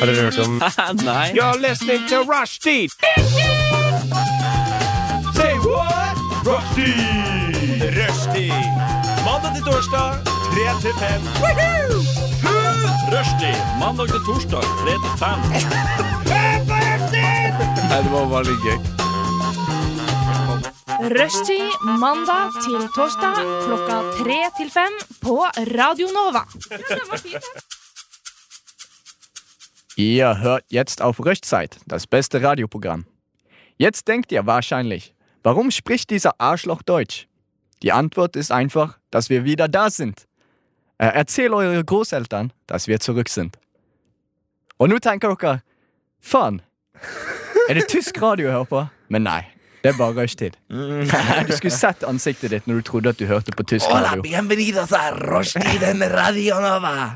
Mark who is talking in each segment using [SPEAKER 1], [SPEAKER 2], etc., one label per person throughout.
[SPEAKER 1] Har dere hørt om
[SPEAKER 2] Nei.
[SPEAKER 3] You're listening to Rushdie! Say what? Rushdie! Rushdie! Mandag til torsdag, 3 til 5.
[SPEAKER 2] Rushtid mandag til torsdag 3 til 5.
[SPEAKER 4] Nei, det var bare litt gøy.
[SPEAKER 5] Rushtid mandag til torsdag klokka tre til fem på Radio Nova.
[SPEAKER 4] Ihr hört jetzt auf Röchtzeit, das beste Radioprogramm. Jetzt denkt ihr wahrscheinlich, warum spricht dieser Arschloch Deutsch? Die Antwort ist einfach, dass wir wieder da sind. Äh, erzähl eure Großeltern, dass wir zurück sind. Und nu tänker dere, faen, er det tysk radio jeg hører på? Men nei, det er bare rushtid. Du skulle sett ansiktet ditt når du trodde at du hørte på tysk radio.
[SPEAKER 6] bienvenidos a Rushdie en Radio Nova.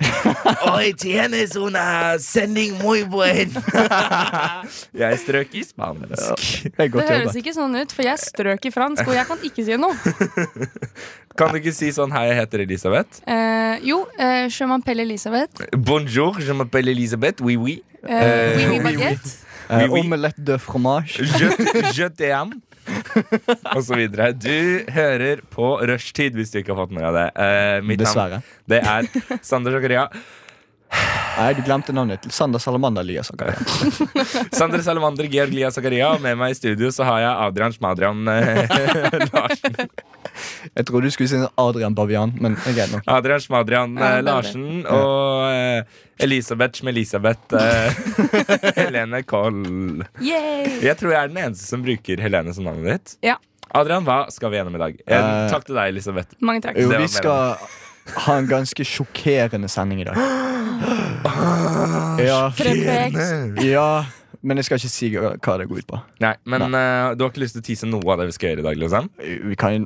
[SPEAKER 6] Hoy tienes una sending muy buena.
[SPEAKER 7] Jeg strøk i spansk.
[SPEAKER 4] Det er
[SPEAKER 8] Det
[SPEAKER 4] godt
[SPEAKER 8] høres
[SPEAKER 4] jobba.
[SPEAKER 8] ikke sånn ut, for jeg strøk i fransk, og jeg kan ikke si noe.
[SPEAKER 7] Kan du ikke si sånn Hei, jeg heter Elisabeth.
[SPEAKER 8] Eh, jo, eh, je m'appelle Elisabeth.
[SPEAKER 7] Bonjour, je m'appelle Elisabeth. Oui, oui.
[SPEAKER 8] Eh, oui, oui,
[SPEAKER 7] oui,
[SPEAKER 8] baguette.
[SPEAKER 4] Eh,
[SPEAKER 7] Oui, oui.
[SPEAKER 4] Omelette de fromage.
[SPEAKER 7] Je, je t'aime. Og så videre. Du hører på Rushtid, hvis du ikke har fått med deg det. Eh, mitt
[SPEAKER 4] Dessverre.
[SPEAKER 7] navn det er Sander Zakaria.
[SPEAKER 4] Nei, du glemte navnet. Sander Salamander Lias. Okay.
[SPEAKER 7] Sander Salamander Georg Lia Zakaria. Og med meg i studio så har jeg Adrian Smadrian eh, Larsen.
[SPEAKER 4] Jeg trodde du skulle si Adrian Bavian, men jeg er nok.
[SPEAKER 7] Adrian Smadrian eh,
[SPEAKER 8] Ja, det er
[SPEAKER 7] Larsen og eh, Elisabeth Schmelisabeth eh, Helene Koll.
[SPEAKER 8] Yay!
[SPEAKER 7] Jeg tror jeg er den eneste som bruker Helene som navnet ditt.
[SPEAKER 8] Ja.
[SPEAKER 7] Adrian, hva skal vi gjennom i dag? Eh,
[SPEAKER 4] Eh,
[SPEAKER 7] takk til deg, Elisabeth.
[SPEAKER 8] Mange takk.
[SPEAKER 4] Jo,
[SPEAKER 7] Det var
[SPEAKER 4] vi skal ha en ganske sjokkerende sending i dag. Ja,
[SPEAKER 8] Fremvekst.
[SPEAKER 4] ja men jeg skal ikke si hva det går ut på.
[SPEAKER 7] Nei, men eh, Du har ikke lyst til å tease noe av det vi skal gjøre i dag? liksom
[SPEAKER 4] Vi, kan,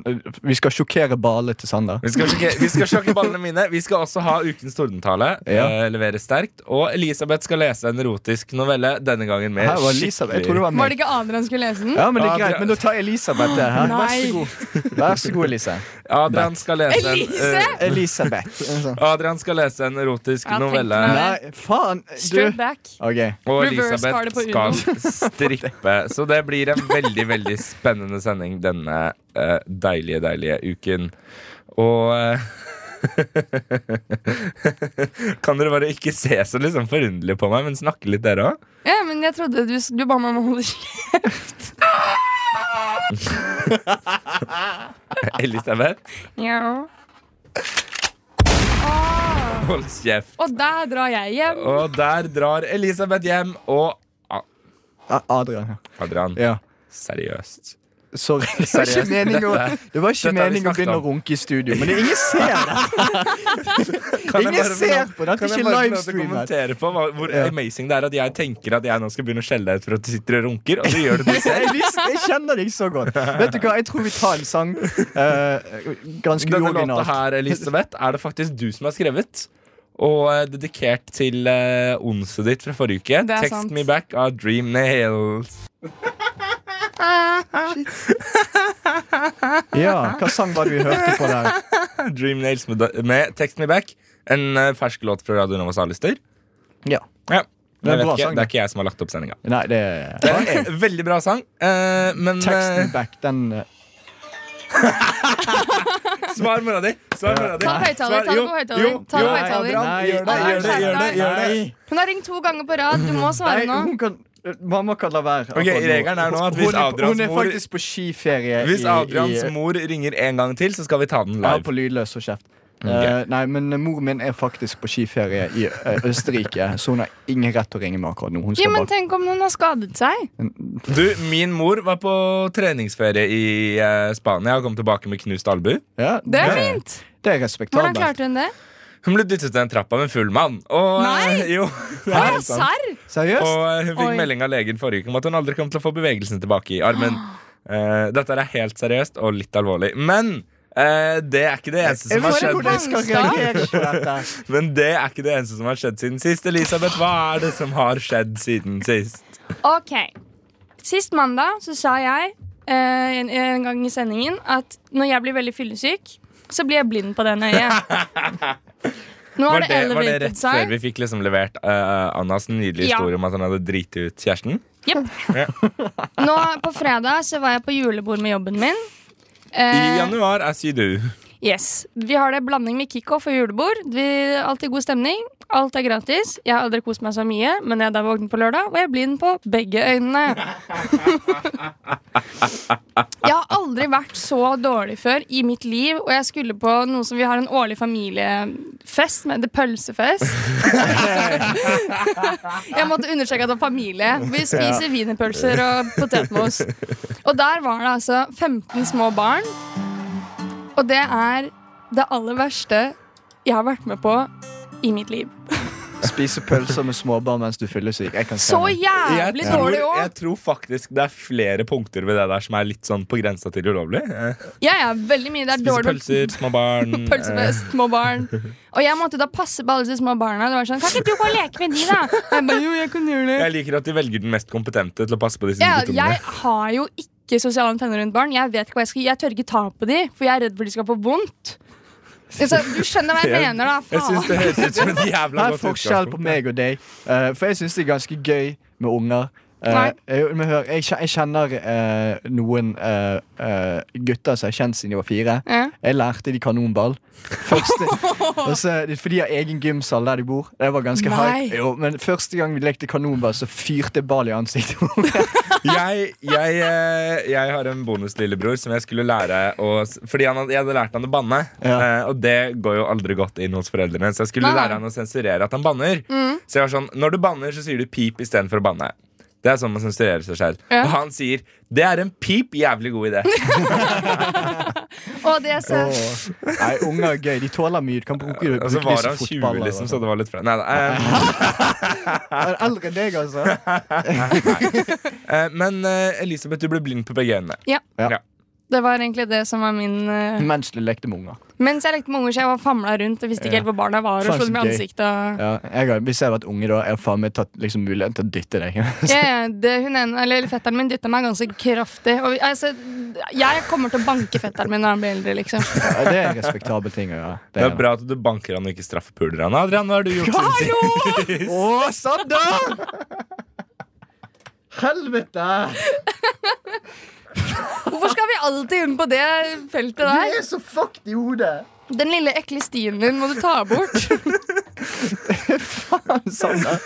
[SPEAKER 4] vi skal sjokkere Bale til Sander.
[SPEAKER 7] Vi skal, sjokke, vi skal sjokke ballene mine. Vi skal også ha ukens tordentale.
[SPEAKER 4] Ja.
[SPEAKER 7] eh, levere sterkt Og Elisabeth skal lese en erotisk novelle, denne gangen med
[SPEAKER 4] Her var Elisabeth. Jeg tror det var
[SPEAKER 8] Var det
[SPEAKER 4] meg.
[SPEAKER 8] ikke Adrian som skulle lese den?
[SPEAKER 4] Ja, men det er
[SPEAKER 7] Adrian-
[SPEAKER 4] greit, men da tar Elisabeth det her. Vær så
[SPEAKER 8] Nei.
[SPEAKER 4] god, Vær så god Elise.
[SPEAKER 7] Adrian skal lese en,
[SPEAKER 8] Elise!
[SPEAKER 7] eh,
[SPEAKER 4] Elisabeth.
[SPEAKER 7] Adrian skal lese en erotisk
[SPEAKER 8] Ja, tenk
[SPEAKER 7] novelle,
[SPEAKER 8] meg.
[SPEAKER 4] Nei, faen!
[SPEAKER 8] Straight
[SPEAKER 4] Du.
[SPEAKER 8] back.
[SPEAKER 4] OK.
[SPEAKER 7] og
[SPEAKER 8] Reverse var det
[SPEAKER 7] Elisabeth
[SPEAKER 8] på
[SPEAKER 7] skal strippe. Så det blir en veldig veldig spennende sending denne eh, deilige, deilige uken. Og eh, Kan dere bare ikke se så liksom forunderlig på meg, men snakke litt, dere òg?
[SPEAKER 8] Ja, men jeg trodde du, du ba meg om å holde kjeft.
[SPEAKER 7] Elisabeth?
[SPEAKER 8] Ja.
[SPEAKER 7] Hold kjeft.
[SPEAKER 8] Og der drar jeg hjem.
[SPEAKER 7] Og der drar Elisabeth hjem, og
[SPEAKER 4] A- Adrian. ja.
[SPEAKER 7] Adrian,
[SPEAKER 4] Ja.
[SPEAKER 7] seriøst.
[SPEAKER 4] Sorry. Det var ikke
[SPEAKER 7] Seriøst.
[SPEAKER 4] meningen å, det var ikke
[SPEAKER 7] Dette har vi
[SPEAKER 4] meningen å
[SPEAKER 7] snakket
[SPEAKER 4] begynne å
[SPEAKER 7] om.
[SPEAKER 4] runke i studio, men det- ingen ser det.
[SPEAKER 7] Kan jeg bare
[SPEAKER 4] Ingen
[SPEAKER 7] få
[SPEAKER 4] ser
[SPEAKER 7] lov-
[SPEAKER 4] på det, at
[SPEAKER 7] kan jeg
[SPEAKER 4] det ikke
[SPEAKER 7] bare få lov til å
[SPEAKER 4] livestream her.
[SPEAKER 7] kommentere på hva, hvor
[SPEAKER 4] Ja.
[SPEAKER 7] amazing det er at jeg tenker at jeg nå skal begynne å skjelle deg ut for at du sitter og runker, og så gjør du det selv.
[SPEAKER 4] Jeg, visste, jeg kjenner deg så godt. Vet du hva, Jeg tror vi tar en sang. eh, ganske
[SPEAKER 7] Denne låta
[SPEAKER 4] uoriginalt.
[SPEAKER 7] her, Elisabeth, er det faktisk du som har skrevet. Og eh, dedikert til eh, onset ditt fra forrige uke.
[SPEAKER 8] Det er
[SPEAKER 7] Text
[SPEAKER 8] sant.
[SPEAKER 7] me back av Dream Nails.
[SPEAKER 4] Ja, Hva sang var det vi hørte på der?
[SPEAKER 7] Dream Nails med, med Text me back. En eh, fersk låt fra Radio Novas A-lister.
[SPEAKER 4] Ja.
[SPEAKER 7] Ja.
[SPEAKER 4] Det er
[SPEAKER 7] Jeg
[SPEAKER 4] en
[SPEAKER 7] vet
[SPEAKER 4] bra
[SPEAKER 7] ikke,
[SPEAKER 4] sang,
[SPEAKER 7] det
[SPEAKER 4] det.
[SPEAKER 7] er ikke jeg som har lagt opp sendinga.
[SPEAKER 4] Nei, det
[SPEAKER 7] Det er en veldig bra sang, eh, men
[SPEAKER 4] Teksten
[SPEAKER 7] eh,
[SPEAKER 4] back, den eh,
[SPEAKER 7] Svar mora di! Svar mora di.
[SPEAKER 8] Ta høyttaler, ta det på
[SPEAKER 7] Svar-
[SPEAKER 8] høyttaler.
[SPEAKER 7] jo,
[SPEAKER 8] Ta det på
[SPEAKER 7] jo,
[SPEAKER 8] høyttaler.
[SPEAKER 7] Adrian,
[SPEAKER 4] Nei,
[SPEAKER 7] Gjør det, gjør det, gjør det, gjør det.
[SPEAKER 4] Nei,
[SPEAKER 8] Hun har ringt to ganger på rad. Du må svare
[SPEAKER 4] nei,
[SPEAKER 8] nå.
[SPEAKER 4] hun kan eh, Mamma kan la være.
[SPEAKER 7] Ok,
[SPEAKER 4] akkurat nå.
[SPEAKER 7] regelen er nå at
[SPEAKER 4] Hun-
[SPEAKER 7] hvis
[SPEAKER 4] hun er-
[SPEAKER 7] Adrians
[SPEAKER 4] Hun er
[SPEAKER 7] mor-
[SPEAKER 4] faktisk på skiferie
[SPEAKER 7] Hvis
[SPEAKER 4] i-
[SPEAKER 7] Adrians
[SPEAKER 4] i-
[SPEAKER 7] mor ringer en gang til, så skal vi ta den
[SPEAKER 4] Jeg har
[SPEAKER 7] live.
[SPEAKER 4] på lydløs og kjeft.
[SPEAKER 7] Ok.
[SPEAKER 4] Eh, nei, men mor min er faktisk på skiferie i eh, Østerrike, så hun har ingen rett til å ringe meg akkurat nå. Hun
[SPEAKER 8] Ja,
[SPEAKER 4] skal
[SPEAKER 8] men
[SPEAKER 4] bare...
[SPEAKER 8] tenk om hun har skadet seg.
[SPEAKER 7] Du, Min mor var på treningsferie i eh, Spania og kom tilbake med knust albu.
[SPEAKER 4] ja,
[SPEAKER 8] Det er fint.
[SPEAKER 4] Det er
[SPEAKER 8] Hvordan
[SPEAKER 4] respektabelt.
[SPEAKER 8] klarte hun det?
[SPEAKER 7] Hun ble dyttet ned trappa med full mann. Og, eh,
[SPEAKER 8] Nei!
[SPEAKER 7] jo, det
[SPEAKER 8] Å,
[SPEAKER 7] er
[SPEAKER 8] ja,
[SPEAKER 7] sant.
[SPEAKER 8] serr?
[SPEAKER 4] Seriøst?
[SPEAKER 7] Og eh, hun fikk
[SPEAKER 8] Oi.
[SPEAKER 7] melding av legen forrige uke om at hun aldri kom til å få bevegelsen tilbake i armen. Eh, dette er helt seriøst og litt alvorlig. Men eh, det er ikke det eneste
[SPEAKER 4] Jeg
[SPEAKER 7] som har
[SPEAKER 4] vet ikke
[SPEAKER 7] skjedd.
[SPEAKER 4] hvordan jeg skal reagere på dette.
[SPEAKER 7] Men det er ikke det eneste som har skjedd siden sist. Elisabeth, hva er det som har skjedd siden sist?
[SPEAKER 8] Ok. Sist mandag så sa jeg eh, en, en gang i sendingen at når jeg blir veldig fyllesyk, så blir jeg blind på det ene øyet. Nå
[SPEAKER 7] Var
[SPEAKER 8] er
[SPEAKER 7] det, var
[SPEAKER 8] det,
[SPEAKER 7] det
[SPEAKER 8] elevated
[SPEAKER 7] rett før
[SPEAKER 8] side.
[SPEAKER 7] vi fikk liksom levert eh, Annas nydelige
[SPEAKER 8] Ja.
[SPEAKER 7] historie om at han hadde driti ut kjæresten?
[SPEAKER 8] Nå På fredag så var jeg på julebord med jobben min.
[SPEAKER 7] I
[SPEAKER 8] Eh,
[SPEAKER 7] januar er Sydu.
[SPEAKER 8] yes. Vi har det blanding med kickoff og julebord. Vi, alltid god stemning. Alt er gratis. Jeg har aldri kost meg så mye, men jeg er da våken på lørdag, og jeg blir den på begge øynene. jeg har aldri vært så dårlig før i mitt liv, og jeg skulle på noe som vi har en årlig familiefest med. Det pølsefest. Jeg måtte understreke at det var familie. Vi spiser wienerpølser og potetmos. Og der var det altså 15 små barn. Og det er det aller verste jeg har vært med på i mitt liv.
[SPEAKER 4] Spise pølser med småbarn mens du fyller syk. Jeg kan se
[SPEAKER 8] Så
[SPEAKER 4] meg.
[SPEAKER 8] jævlig
[SPEAKER 7] Jeg tror,
[SPEAKER 8] dårlig år!
[SPEAKER 7] jeg tror faktisk det er flere punkter ved det der som er litt sånn på grensa til ulovlig. Eh,
[SPEAKER 8] Ja, ja, veldig mye. Det er
[SPEAKER 7] Spise
[SPEAKER 8] dårlig
[SPEAKER 7] pølser, små barn. eh,
[SPEAKER 8] Pølsefest, små barn. Og jeg måtte da passe på alle de små barna. Det var sånn, Kan ikke du gå og leke med de, da? Jeg ba, jo, jeg kan gjøre det.
[SPEAKER 7] Jeg liker at de velger den mest kompetente til å passe på disse
[SPEAKER 8] Ja, jeg
[SPEAKER 7] guttungene.
[SPEAKER 8] har jo ikke sosiale antenner rundt barn. Jeg vet ikke hva jeg skal Jeg tør ikke ta på de, for jeg er redd for de skal få vondt. Altså, du skjønner hva jeg
[SPEAKER 7] Jeg-
[SPEAKER 8] mener, da.
[SPEAKER 7] Jeg syns
[SPEAKER 8] Faen.
[SPEAKER 7] det høres ut som et
[SPEAKER 4] Det
[SPEAKER 7] jævla
[SPEAKER 4] er
[SPEAKER 7] godt
[SPEAKER 4] forskjell på
[SPEAKER 7] utgangspunkt.
[SPEAKER 4] meg og deg. Eh, for jeg syns det er ganske gøy med unger. Eh,
[SPEAKER 8] Nei.
[SPEAKER 4] jeg, men hør, jeg, kje- jeg kjenner eh, noen eh, eh, gutter som jeg har kjent siden de var fire.
[SPEAKER 8] Ja.
[SPEAKER 4] Jeg lærte de kanonball. Første, altså, for de har egen gymsal der de bor. Det var ganske
[SPEAKER 8] Nei.
[SPEAKER 4] hype. Jo, men første gang vi lekte kanonball, så fyrte jeg ball i ansiktet på meg.
[SPEAKER 7] jeg, jeg, eh, jeg har en bonuslillebror som jeg skulle lære å Fordi han, hadde- jeg hadde lært han å banne,
[SPEAKER 4] Ja.
[SPEAKER 7] eh, og det går jo aldri godt inn hos foreldrene. Så jeg skulle
[SPEAKER 8] Nei, Mm. nei.
[SPEAKER 7] lære han å sensurere at han banner. Så jeg var sånn Når du banner, så sier du pip istedenfor å banne. Det er sånn man sensurerer seg selv.
[SPEAKER 8] Ja.
[SPEAKER 7] Og han sier det er en pip jævlig god idé.
[SPEAKER 8] Og det er så
[SPEAKER 4] Nei, unger er gøy. De tåler mye. Du kan bruke, bruke
[SPEAKER 7] Og så
[SPEAKER 4] de
[SPEAKER 7] altså, var
[SPEAKER 4] som
[SPEAKER 7] han 20,
[SPEAKER 4] fotballer.
[SPEAKER 7] liksom,
[SPEAKER 4] og
[SPEAKER 7] så
[SPEAKER 4] sånn.
[SPEAKER 7] det var litt fra. Nei, da, eh,
[SPEAKER 4] Er det Eldre enn deg, altså.
[SPEAKER 7] eh, men eh, Elisabeth, du ble blind på begge øynene.
[SPEAKER 8] Det var egentlig det som var min eh,
[SPEAKER 4] Mens du lekte med unger.
[SPEAKER 8] Mens jeg lekte med unger, så jeg var famla rundt og visste ikke
[SPEAKER 4] Ja.
[SPEAKER 8] helt hvor barna var. Og
[SPEAKER 4] Faen,
[SPEAKER 8] slo
[SPEAKER 4] så
[SPEAKER 8] dem i
[SPEAKER 4] gøy.
[SPEAKER 8] ansiktet og...
[SPEAKER 4] Ja, jeg har, hvis jeg hadde vært unge da, jeg har faen meg tatt liksom, muligheten til å dytte deg.
[SPEAKER 8] ja, ja, det, hun ene, eller Fetteren min dytta meg ganske kraftig. Og, vi- altså, jeg kommer til å banke fetteren min når han blir eldre. Liksom.
[SPEAKER 4] Ja, det er en respektabel ting å gjøre.
[SPEAKER 7] Det er
[SPEAKER 4] det.
[SPEAKER 7] bra at du banker han og ikke straffepuler han. Adrian, hva har du gjort? siden sist?
[SPEAKER 4] Å, Saddam! Helvete!
[SPEAKER 8] Hvorfor skal vi alltid inn på det feltet der?
[SPEAKER 4] så fucked i hodet.
[SPEAKER 8] Den lille ekle stien din må du ta bort.
[SPEAKER 4] Sander.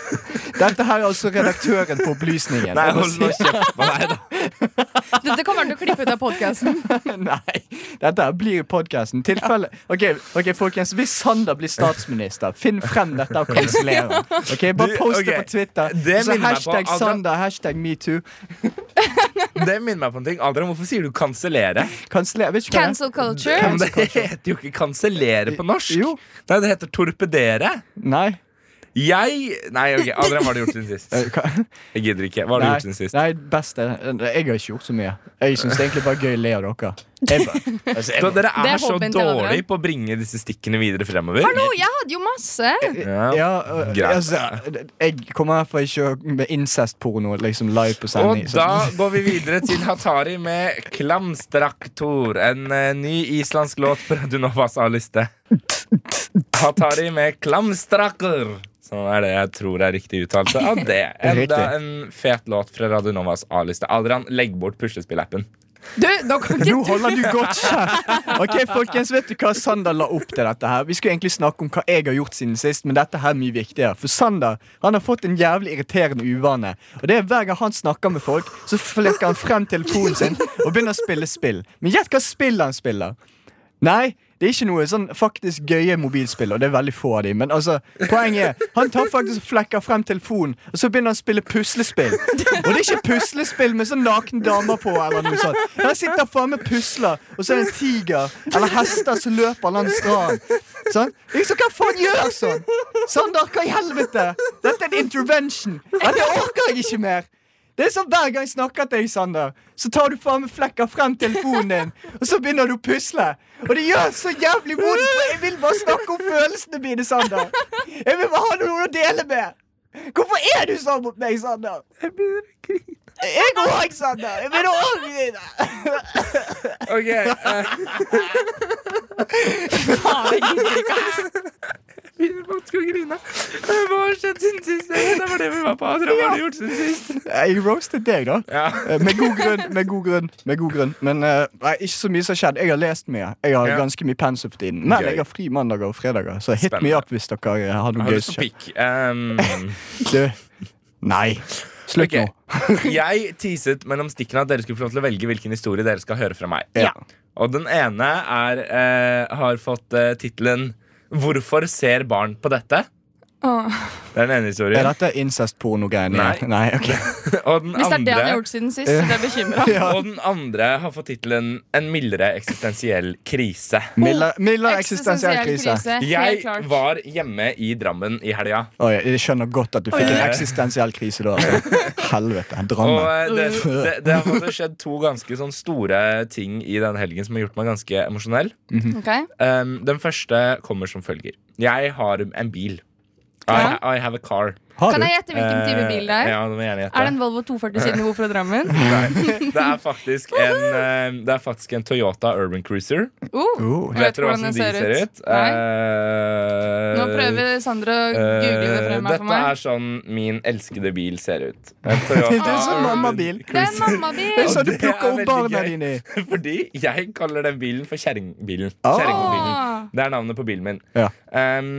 [SPEAKER 4] Dette her er altså redaktøren på Opplysningen.
[SPEAKER 7] Nei,
[SPEAKER 4] Jeg må
[SPEAKER 7] hold nå kjeft på meg, da.
[SPEAKER 8] Dette kommer han til å klippe ut av podkasten.
[SPEAKER 4] si- Nei. Dette her blir podkasten. Tilfelle Ok, ok, folkens. Hvis Sander blir statsminister, finn frem dette og kanseller den. Ok,
[SPEAKER 7] Du,
[SPEAKER 4] bare post det
[SPEAKER 7] ok.
[SPEAKER 4] på Twitter.
[SPEAKER 7] Det
[SPEAKER 4] Og
[SPEAKER 7] minner
[SPEAKER 4] så
[SPEAKER 7] meg på
[SPEAKER 4] hashtag
[SPEAKER 7] Adrian-
[SPEAKER 4] Sander, hashtag metoo.
[SPEAKER 7] Det minner meg på en ting. Adrian, hvorfor sier du kansellere?
[SPEAKER 4] Kanseller. Vet ikke hva det er.
[SPEAKER 8] Cancel
[SPEAKER 7] Ja,
[SPEAKER 8] culture.
[SPEAKER 7] men det heter jo ikke kansellere på norsk.
[SPEAKER 4] Jo.
[SPEAKER 7] Nei, det heter torpedere.
[SPEAKER 4] Nei.
[SPEAKER 7] Jeg Nei, ok, Adrian, hva har du gjort siden sist?
[SPEAKER 4] Eh, hva-
[SPEAKER 7] Jeg gidder ikke. Hva har du
[SPEAKER 4] Nei,
[SPEAKER 7] gjort siden sist?
[SPEAKER 4] nei, best er Jeg har ikke gjort så mye. Jeg syns det er egentlig bare gøy å le av dere. Jeg bare, altså,
[SPEAKER 7] Så
[SPEAKER 4] jeg,
[SPEAKER 7] dere er
[SPEAKER 8] Det er
[SPEAKER 7] så
[SPEAKER 8] hobbyen til
[SPEAKER 7] dårlige
[SPEAKER 8] Adrian.
[SPEAKER 7] på å bringe disse stikkene videre fremover.
[SPEAKER 8] Hallo, jeg hadde jo masse.
[SPEAKER 7] Ja.
[SPEAKER 4] ja, øh,
[SPEAKER 7] Greit.
[SPEAKER 4] altså, jeg kommer i hvert fall ikke med incestporno liksom live på
[SPEAKER 7] Og
[SPEAKER 4] sending. så-
[SPEAKER 7] da går vi videre til Hatari med Klamstraktor. En eh, ny islandsk låt fra Dunovas A-liste. Hatari med Klamstrakur. Sånn er det jeg tror er riktig uttalelse av det. Enda
[SPEAKER 4] Riktig.
[SPEAKER 7] en fet låt fra Radionovas A-liste. Adrian, legg bort puslespillappen.
[SPEAKER 8] Du, nå kan ikke
[SPEAKER 4] Nå holder du godt kjeft! Ok, folkens, Vet du hva Sander la opp til dette her? Vi skulle egentlig snakke om hva jeg har gjort siden sist, men dette her er mye viktigere. For Sander han har fått en jævlig irriterende uvane. Og det er Hver gang han snakker med folk, så flekker han frem telefonen sin og begynner å spille spill. Men gjett hva spill han spiller. Nei, det er ikke noe sånn faktisk gøye mobilspill, og det er veldig få av dem. Men altså, poenget er han tar faktisk og flekker frem telefonen, og så begynner han å spille puslespill. Og det er ikke puslespill med sånn nakne damer på. eller noe sånt Han sitter faen med pusler, og så er det en tiger eller hester som løper langs stranden. Sånn? Liksom, hva faen gjør sånn? Sander, hva i helvete? Dette er en intervention. Ja, det orker jeg ikke mer. Det er sånn Hver gang jeg snakker til deg, Sander, så tar du faen meg flekker frem telefonen din, og så begynner du å pusle. Og det gjør så jævlig vondt, for jeg vil bare snakke om følelsene mine, Sander. Jeg vil bare ha noen å dele med. Hvorfor er du sånn mot meg, Sander? Jeg begynner å grine. Jeg òg, Sander. Jeg begynner å grine.
[SPEAKER 7] Ok, eh,
[SPEAKER 8] faen, jeg gidder ikke.
[SPEAKER 7] begynner faktisk å grine. Hva har skjedd siden sist? Det var det vi var på. Adrian, Hva har du gjort siden sist?
[SPEAKER 4] Jeg roastet deg, da.
[SPEAKER 7] Ja.
[SPEAKER 4] Eh, Med god grunn. med god grunn, med god grunn Men eh, nei, ikke så mye som har skjedd. Jeg har lest mye. Jeg har
[SPEAKER 7] Ja.
[SPEAKER 4] ganske mye pensum for tiden. Men
[SPEAKER 7] Gøy.
[SPEAKER 4] jeg har fri mandager og fredager, så hit me
[SPEAKER 7] Spennende.
[SPEAKER 4] up hvis dere eh, har noe
[SPEAKER 7] Har
[SPEAKER 4] gøy
[SPEAKER 7] du
[SPEAKER 4] som skjer.
[SPEAKER 7] spikk? Um,
[SPEAKER 4] Du, nei. Slutt
[SPEAKER 7] Ok.
[SPEAKER 4] nå.
[SPEAKER 7] Jeg teaset mellom stikkene at dere skulle få lov til å velge hvilken historie dere skal høre fra meg.
[SPEAKER 4] Ja.
[SPEAKER 7] Og den ene er, eh, har fått eh, tittelen 'Hvorfor ser barn på dette?'
[SPEAKER 8] Åh.
[SPEAKER 7] Det er den ene historien.
[SPEAKER 4] Er dette incestporno-greiene?
[SPEAKER 7] Nei.
[SPEAKER 4] nei ok.
[SPEAKER 7] Og den
[SPEAKER 8] Hvis det er det han har
[SPEAKER 7] andre,
[SPEAKER 8] gjort siden sist, så blir jeg bekymra.
[SPEAKER 7] og den andre har fått tittelen 'En mildere eksistensiell krise'.
[SPEAKER 4] Mildere mildere eksistensiell krise.
[SPEAKER 8] Helt
[SPEAKER 7] Jeg
[SPEAKER 8] klart.
[SPEAKER 7] var hjemme i Drammen i helga.
[SPEAKER 4] Oi, jeg skjønner godt at du fikk
[SPEAKER 7] Oi.
[SPEAKER 4] en eksistensiell krise da. Altså. Helvete.
[SPEAKER 7] Og
[SPEAKER 4] Drammen.
[SPEAKER 7] eh, det,
[SPEAKER 8] Uh.
[SPEAKER 7] det, det har faktisk skjedd to ganske sånn store ting i den helgen som har gjort meg ganske emosjonell.
[SPEAKER 8] Ok.
[SPEAKER 7] Um, den første kommer som følger. Jeg har en bil. I, I have a car.
[SPEAKER 4] Har
[SPEAKER 8] Kan
[SPEAKER 4] du?
[SPEAKER 8] jeg gjette hvilken type bil det
[SPEAKER 7] Eh,
[SPEAKER 8] er?
[SPEAKER 7] Ja, det må jeg gjerne gjette.
[SPEAKER 8] Er det en Volvo 240 siden hvorfor Drammen?
[SPEAKER 7] Nei, det er faktisk en eh, Det er faktisk en Toyota Urban Cruiser.
[SPEAKER 8] Oh,
[SPEAKER 4] Oh,
[SPEAKER 8] Jeg vet
[SPEAKER 7] Dere
[SPEAKER 8] hvordan
[SPEAKER 7] hvordan
[SPEAKER 8] den
[SPEAKER 7] de
[SPEAKER 8] ser ut. Nei.
[SPEAKER 7] Eh,
[SPEAKER 8] Nå prøver Sandra å google det frem her
[SPEAKER 7] dette
[SPEAKER 8] for meg.
[SPEAKER 7] er sånn min elskede bil ser ut. En Toyota
[SPEAKER 4] Det er sånn
[SPEAKER 7] Urban
[SPEAKER 4] mammabil.
[SPEAKER 8] Det er en
[SPEAKER 7] Cruiser.
[SPEAKER 8] mammabil!
[SPEAKER 4] Så
[SPEAKER 7] Og
[SPEAKER 4] du
[SPEAKER 7] det er
[SPEAKER 4] plukker opp
[SPEAKER 7] veldig
[SPEAKER 4] barna
[SPEAKER 7] gøy.
[SPEAKER 4] dine i.
[SPEAKER 7] Fordi jeg kaller den bilen for kjerringbilen.
[SPEAKER 4] Ah.
[SPEAKER 7] Kjerringbilen.
[SPEAKER 8] Åh,
[SPEAKER 7] Det er navnet på bilen min.
[SPEAKER 4] Ja.
[SPEAKER 7] Um,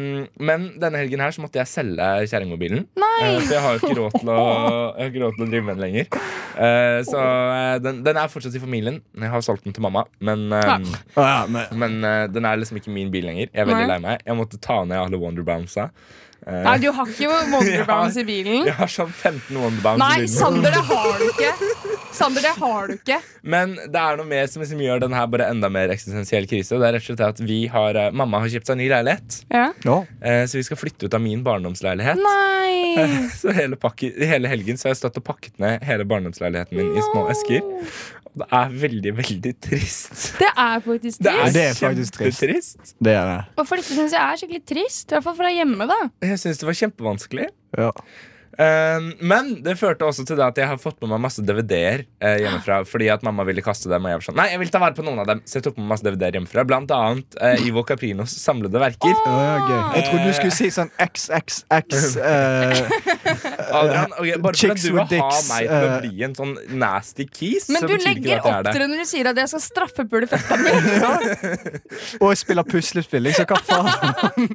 [SPEAKER 7] men denne helgen her så måtte jeg selge kjerringmobilen.
[SPEAKER 8] Nei!
[SPEAKER 7] Eh, Så jeg har jo ikke råd til å, jeg har ikke råd til å drive med den lenger. Eh, så eh, den, den er fortsatt i familien. Jeg har solgt den til mamma, men, ehm,
[SPEAKER 4] Å, ja, men,
[SPEAKER 7] men eh, den er liksom ikke min bil lenger. Jeg er veldig
[SPEAKER 8] Nei.
[SPEAKER 7] lei meg. Jeg måtte ta ned alle Wonderbounsa. Eh,
[SPEAKER 8] Nei, du har ikke Wonder Browns i bilen.
[SPEAKER 7] jeg har sånn 15 Wonderbounce i
[SPEAKER 8] Nei,
[SPEAKER 7] bilen.
[SPEAKER 8] Sander, det har du ikke! Sander, det har du ikke.
[SPEAKER 7] Men det er noe mer som liksom gjør den her bare enda mer eksistensiell krise. Det er rett og slett at vi har, eh, Mamma har kjøpt seg ny leilighet,
[SPEAKER 8] Ja.
[SPEAKER 4] Å,
[SPEAKER 7] eh, så vi skal flytte ut av min barndomsleilighet.
[SPEAKER 8] Nei!
[SPEAKER 7] Så hele, pakke, hele helgen så har jeg stått og pakket ned hele barndomsleiligheten min i små esker. Og det er veldig, veldig trist.
[SPEAKER 8] Det er faktisk
[SPEAKER 4] er-
[SPEAKER 8] trist.
[SPEAKER 4] det faktisk trist.
[SPEAKER 7] kjempetrist.
[SPEAKER 4] det er det.
[SPEAKER 8] Og for dette syns jeg er skikkelig trist. I hvert fall fra hjemme, da.
[SPEAKER 7] Jeg syns det var kjempevanskelig.
[SPEAKER 4] Ja.
[SPEAKER 7] Um, men det førte også til det at jeg har fått med meg masse DVD-er eh, hjemmefra.
[SPEAKER 4] Ah.
[SPEAKER 7] Fordi at mamma ville kaste dem, og jeg var sånn Nei, jeg vil ta vare på noen av dem. Så jeg tok med meg masse DVD-er hjemmefra. Blant annet eh, Ivo Caprinos samlede verker.
[SPEAKER 4] Å, ja, gøy.
[SPEAKER 8] Ah.
[SPEAKER 4] Jeg trodde du skulle si sånn XXX eh,
[SPEAKER 7] Adrian, ok, bare for at
[SPEAKER 4] Chicks
[SPEAKER 7] du vil
[SPEAKER 4] with
[SPEAKER 7] ha
[SPEAKER 4] dicks,
[SPEAKER 7] meg til å
[SPEAKER 4] eh.
[SPEAKER 7] bli en sånn nasty kis,
[SPEAKER 8] Men
[SPEAKER 7] så
[SPEAKER 8] du
[SPEAKER 7] betyr det ikke
[SPEAKER 8] legger
[SPEAKER 7] at jeg
[SPEAKER 8] opp
[SPEAKER 7] er det.
[SPEAKER 8] til det når du sier at jeg skal straffepule fetta mi.
[SPEAKER 4] og spiller puslespill. Liksom, hva faen?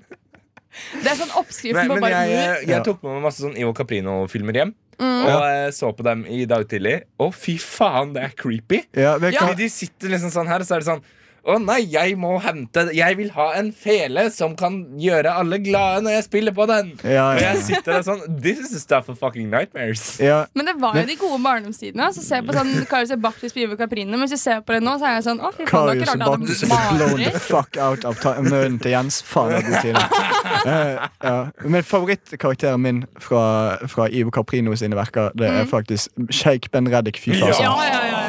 [SPEAKER 8] Det er sånn
[SPEAKER 7] Nei,
[SPEAKER 8] oppskriften på
[SPEAKER 7] men jeg,
[SPEAKER 8] barnehus.
[SPEAKER 7] jeg,
[SPEAKER 4] Ja.
[SPEAKER 7] tok med meg masse sånn Ivo Caprino-filmer hjem.
[SPEAKER 8] Mm.
[SPEAKER 7] Og eh, så på dem i dag tidlig. Å, fy faen, det er creepy!
[SPEAKER 4] Ja, men
[SPEAKER 7] Fordi
[SPEAKER 4] hva-
[SPEAKER 7] de sitter liksom sånn her, og så er det sånn å nei, jeg må hente Jeg vil ha en fele som kan gjøre alle glade når jeg spiller på den.
[SPEAKER 4] Ja,
[SPEAKER 7] Og
[SPEAKER 4] ja.
[SPEAKER 7] jeg sitter der sånn This is the stuff of fucking nightmares.
[SPEAKER 4] ja.
[SPEAKER 8] Men det var jo de gode barndomstidene. Altså, se på sånn Karius og Baktus Bive Caprine. Mens jeg ser på det nå, så er jeg sånn Å, fy faen, det
[SPEAKER 4] Karius
[SPEAKER 8] var
[SPEAKER 4] og
[SPEAKER 8] ikke rart
[SPEAKER 4] Baktus
[SPEAKER 8] jeg
[SPEAKER 4] ble
[SPEAKER 8] hadde
[SPEAKER 4] blown the
[SPEAKER 8] mareritt.
[SPEAKER 4] fuck out av ta- munnen til Jens. Faen, det er god tid. Eh, ja. Men favorittkarakteren min fra, fra Ivo Caprino sine verker, det er faktisk Sheikh Ben Reddik. Fy faen.
[SPEAKER 8] Mhm. Ja, ja, ja, ja.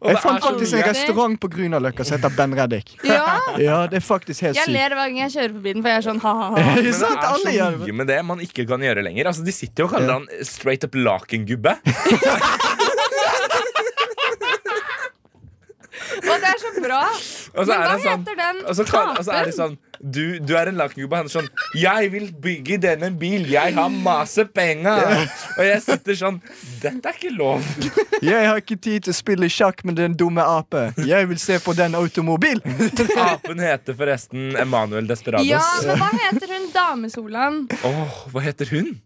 [SPEAKER 7] Og
[SPEAKER 4] Jeg
[SPEAKER 7] det
[SPEAKER 4] fant
[SPEAKER 7] er så
[SPEAKER 4] faktisk en
[SPEAKER 7] mye-
[SPEAKER 4] restaurant på Grünerløkka som heter Ben Reddik.
[SPEAKER 8] ja.
[SPEAKER 4] Ja, det er faktisk helt
[SPEAKER 8] Jeg
[SPEAKER 4] sykt.
[SPEAKER 8] ler hver gang jeg kjører forbi den, for jeg er sånn ha-ha-ha.
[SPEAKER 4] Er det
[SPEAKER 7] Men
[SPEAKER 4] sant? Alle
[SPEAKER 7] det er
[SPEAKER 4] gjør
[SPEAKER 7] så
[SPEAKER 4] det.
[SPEAKER 7] mye med det man ikke kan gjøre lenger. Altså, de sitter jo og kaller
[SPEAKER 4] Ja.
[SPEAKER 7] han straight up lakengubbe.
[SPEAKER 8] Og det er så bra.
[SPEAKER 4] Altså,
[SPEAKER 7] Og så
[SPEAKER 8] Men
[SPEAKER 7] er
[SPEAKER 8] hva
[SPEAKER 7] han sånn
[SPEAKER 8] heter den
[SPEAKER 7] Og så, kan, og så er det
[SPEAKER 8] apen?
[SPEAKER 7] sånn du, du er en lakengubbe. Han er sånn 'Jeg vil bygge denne bil. Jeg har masse penger.' Og jeg sitter sånn Dette er ikke lov.
[SPEAKER 4] Jeg har ikke tid til å spille sjakk med den dumme ape. Jeg vil se på den automobil.
[SPEAKER 7] Apen heter forresten Emanuel
[SPEAKER 4] sånn-
[SPEAKER 7] Desperados.
[SPEAKER 8] Ja, men hva heter hun damesolan?
[SPEAKER 7] Åh, hva heter hun?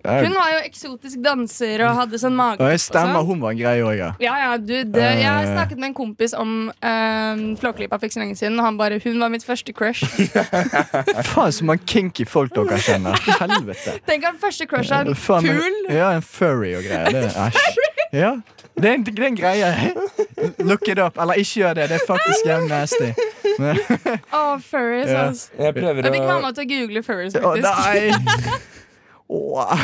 [SPEAKER 8] Hun var jo eksotisk danser og hadde sånn mage.
[SPEAKER 4] Og jeg stemmer, hun Eh. var en greie òg, ja.
[SPEAKER 8] Ja, ja, du, det, jeg har snakket med en kompis om um, Flåklypa for ikke så lenge siden. Og han bare 'Hun var mitt første crush'.
[SPEAKER 4] Faen, så mange kinky folk dere kjenner. Helvete.
[SPEAKER 8] Tenk at første crush er en
[SPEAKER 4] Faen, men-
[SPEAKER 8] fugl!
[SPEAKER 4] Ja, en furry og greier. Det er, æsj. Ja. Det, er en, det er en greie. Look it up. Eller ikke gjør det. Det er faktisk jævlig nasty. Men-
[SPEAKER 8] Å, furries,
[SPEAKER 4] Ja.
[SPEAKER 8] altså.
[SPEAKER 7] Jeg prøver
[SPEAKER 8] Jeg fikk
[SPEAKER 7] å,
[SPEAKER 8] mamma til å google furries,
[SPEAKER 4] Å,
[SPEAKER 8] faktisk.
[SPEAKER 4] nei! Åh.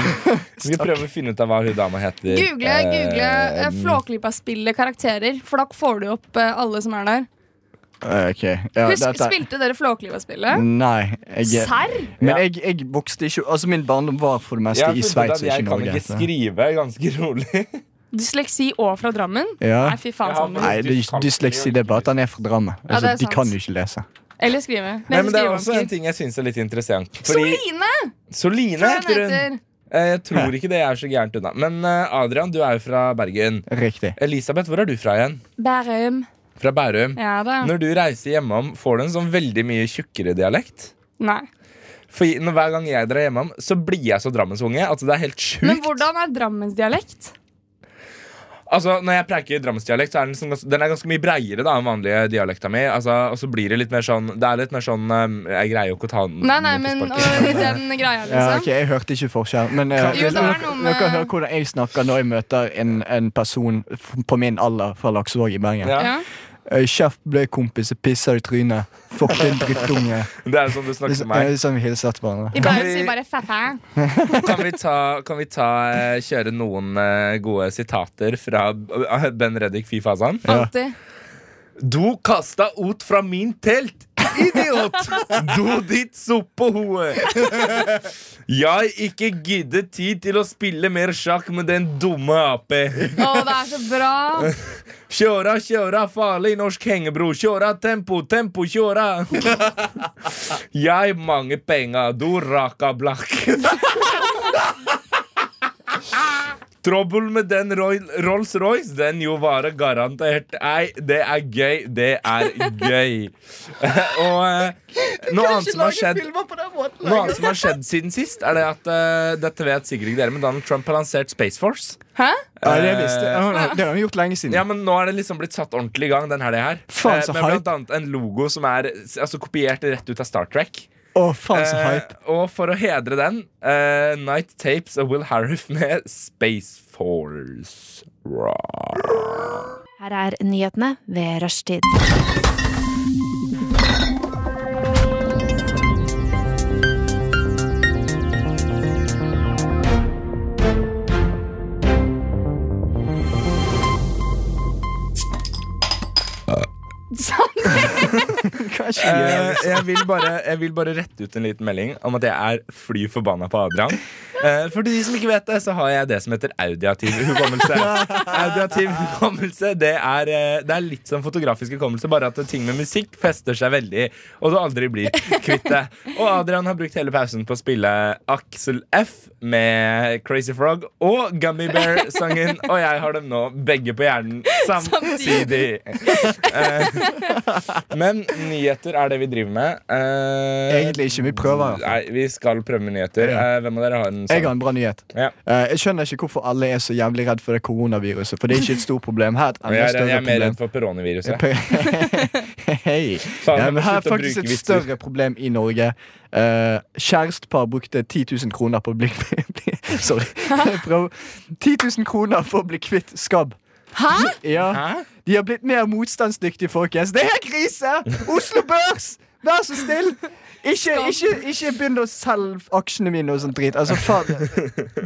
[SPEAKER 7] vi prøver å finne ut av hva hun dama heter.
[SPEAKER 8] Google,
[SPEAKER 7] Eh,
[SPEAKER 8] google eh, Flåklypa-spillet karakterer, for da får du opp eh, alle som er der.
[SPEAKER 4] OK. Ja,
[SPEAKER 8] Husk,
[SPEAKER 4] dette-
[SPEAKER 8] Spilte dere
[SPEAKER 7] Mm,
[SPEAKER 8] Flåklypa-spillet?
[SPEAKER 4] Nei. Jeg,
[SPEAKER 5] Serr?
[SPEAKER 4] men jeg, jeg vokste ikke Altså, min barndom var for det
[SPEAKER 7] Jeg
[SPEAKER 4] meste
[SPEAKER 7] har
[SPEAKER 4] i
[SPEAKER 7] funnet ut
[SPEAKER 4] Sveits
[SPEAKER 7] at
[SPEAKER 4] og ikke i
[SPEAKER 7] jeg kan
[SPEAKER 4] Norge.
[SPEAKER 7] ikke skrive ganske rolig.
[SPEAKER 5] Dysleksi og fra Drammen?
[SPEAKER 4] Ja.
[SPEAKER 5] Nei, fy faen,
[SPEAKER 7] Ja,
[SPEAKER 5] Sander.
[SPEAKER 7] men-
[SPEAKER 4] Nei, det er ikke dysleksi, det er bare at han er fra Drammen. Altså,
[SPEAKER 8] det er
[SPEAKER 4] de
[SPEAKER 8] sant.
[SPEAKER 4] kan jo ikke lese.
[SPEAKER 8] Eller skrive.
[SPEAKER 7] Nei, men det er også en
[SPEAKER 8] skrivevansker.
[SPEAKER 7] ting jeg syns er litt interessant. Fordi
[SPEAKER 8] Soline!
[SPEAKER 7] Soline
[SPEAKER 8] Hva er
[SPEAKER 7] heter hun.
[SPEAKER 8] det heter?
[SPEAKER 7] Eh, Jeg tror ikke det er så gærent unna. Men eh, Adrian, du er jo fra Bergen.
[SPEAKER 4] Riktig.
[SPEAKER 7] Elisabeth, hvor er du fra igjen?
[SPEAKER 8] Bærum.
[SPEAKER 7] Fra Bærum.
[SPEAKER 8] Ja da.
[SPEAKER 7] Når du reiser hjemom, får du en sånn veldig mye tjukkere dialekt?
[SPEAKER 8] Nei.
[SPEAKER 7] For når, hver gang jeg drar hjemom, så blir jeg så drammensunge. Altså, det er helt sjukt.
[SPEAKER 8] Men hvordan er drammensdialekt?
[SPEAKER 7] Altså, Når jeg preiker drammensdialekt, så er den, sånn, gans- den er ganske mye breiere da enn vanlige dialekta mi. Altså, og så blir det litt mer sånn Det er litt mer sånn um, Jeg greier jo ikke å ta den
[SPEAKER 8] Nei, nei,
[SPEAKER 7] på
[SPEAKER 8] men
[SPEAKER 7] sparket.
[SPEAKER 8] og, i den greia,
[SPEAKER 4] Ja, ok,
[SPEAKER 8] liksom.
[SPEAKER 4] Jeg hørte ikke forskjell. Men eh,
[SPEAKER 8] Jo, det var
[SPEAKER 4] dere-
[SPEAKER 8] noe med-
[SPEAKER 4] dere hører hvordan jeg snakker når jeg møter en, en person f- på min alder fra Laksevåg i Bergen.
[SPEAKER 7] Ja.
[SPEAKER 8] Ja.
[SPEAKER 4] Eh, Kjeft, bløy kompis, jeg pisser i trynet. Fucking drittunge.
[SPEAKER 7] Det er sånn du snakker
[SPEAKER 4] Liksom,
[SPEAKER 7] med meg.
[SPEAKER 4] eh, Sånn vi hilser til hverandre.
[SPEAKER 8] I
[SPEAKER 7] Kan
[SPEAKER 8] Bærum
[SPEAKER 7] vi-
[SPEAKER 8] sier bare fæ-fæ.
[SPEAKER 7] Kan vi ta, kan vi ta eh, kjøre noen eh, gode sitater fra eh, Ben Reddik Fy Fasan?
[SPEAKER 8] Alltid.
[SPEAKER 7] Du kasta ut fra min telt, idiot! Du ditt soppehue! Jeg ikke gidder tid til å spille mer sjakk med den dumme ape.
[SPEAKER 8] Å, det er så bra!
[SPEAKER 7] Kjøra, kjøra, farlig norsk hengebro. Kjøra, tempo, tempo, kjøra. Jeg mange penger, du raka blakk. Trøbbel med den Roy- Rolls-Royce, den jo varer garantert. Nei, det er gøy, det er gøy. Og eh, noe annet som har skjedd Noe annet som har skjedd siden sist, er det at eh, Dette vet sikkert ikke dere, men Donald Trump har lansert Space Force.
[SPEAKER 8] Hæ?
[SPEAKER 4] Ja, det visste jeg. Eh, Ja, Det har vi gjort lenge
[SPEAKER 7] Ja,
[SPEAKER 4] siden.
[SPEAKER 7] men nå er det liksom blitt satt ordentlig i gang den helga her.
[SPEAKER 4] Mm. Faen, så
[SPEAKER 7] Eh, Med blant annet en logo som er s- altså, kopiert rett ut av Star Trek.
[SPEAKER 4] Å, faen så
[SPEAKER 7] Eh,
[SPEAKER 4] hype.
[SPEAKER 7] og for å hedre den, eh, Night Tapes av Will Harriff med Space Force. Rah.
[SPEAKER 1] Her er nyhetene ved rushtid.
[SPEAKER 4] Hva skjer?
[SPEAKER 7] Eh, jeg, vil bare, jeg vil bare rette ut en liten melding om at jeg er fly forbanna på Adrian. Eh, for til de som ikke vet det, så har jeg det som heter audiativ hukommelse. Audiativ hukommelse det er, eh, det er litt som fotografisk hukommelse, bare at ting med musikk fester seg veldig, og du aldri blir kvitt det. Og Adrian har brukt hele pausen på å spille Axel F med Crazy Frog og Gummy Bear-sangen, og jeg har dem nå begge på hjernen samtidig. Eh, men nyheter er det vi driver med. Eh,
[SPEAKER 4] Egentlig ikke. Vi prøver. i hvert fall.
[SPEAKER 7] Nei, vi skal prøve med nyheter.
[SPEAKER 4] Ja.
[SPEAKER 7] Eh, hvem av dere har en
[SPEAKER 4] Jeg har
[SPEAKER 7] sak?
[SPEAKER 4] en bra nyhet.
[SPEAKER 7] Ja.
[SPEAKER 4] Eh, Jeg skjønner ikke hvorfor alle er så jævlig redd for det koronaviruset. For det er ikke et stort problem her. er et
[SPEAKER 7] Jeg
[SPEAKER 4] enda
[SPEAKER 7] er, jeg
[SPEAKER 4] større
[SPEAKER 7] er mer
[SPEAKER 4] problem.
[SPEAKER 7] redd for peroniviruset.
[SPEAKER 4] Hei.
[SPEAKER 7] Faen,
[SPEAKER 4] Ja,
[SPEAKER 7] jeg må
[SPEAKER 4] men her er
[SPEAKER 7] slutte å
[SPEAKER 4] faktisk
[SPEAKER 7] bruke
[SPEAKER 4] et
[SPEAKER 7] vitser.
[SPEAKER 4] større problem i Norge. Eh, kjærestepar brukte 10 000 kroner på å bli Sorry. Jeg prøver. 10 000 kroner for å bli kvitt skabb.
[SPEAKER 8] Hæ?
[SPEAKER 4] Ja.
[SPEAKER 7] Hæ?
[SPEAKER 4] De har blitt mer motstandsdyktige, folkens. Det er krise! Oslo Børs! Vær så snill! Ikke, ikke, ikke begynn å selge aksjene mine og sånn drit. Altså, faen.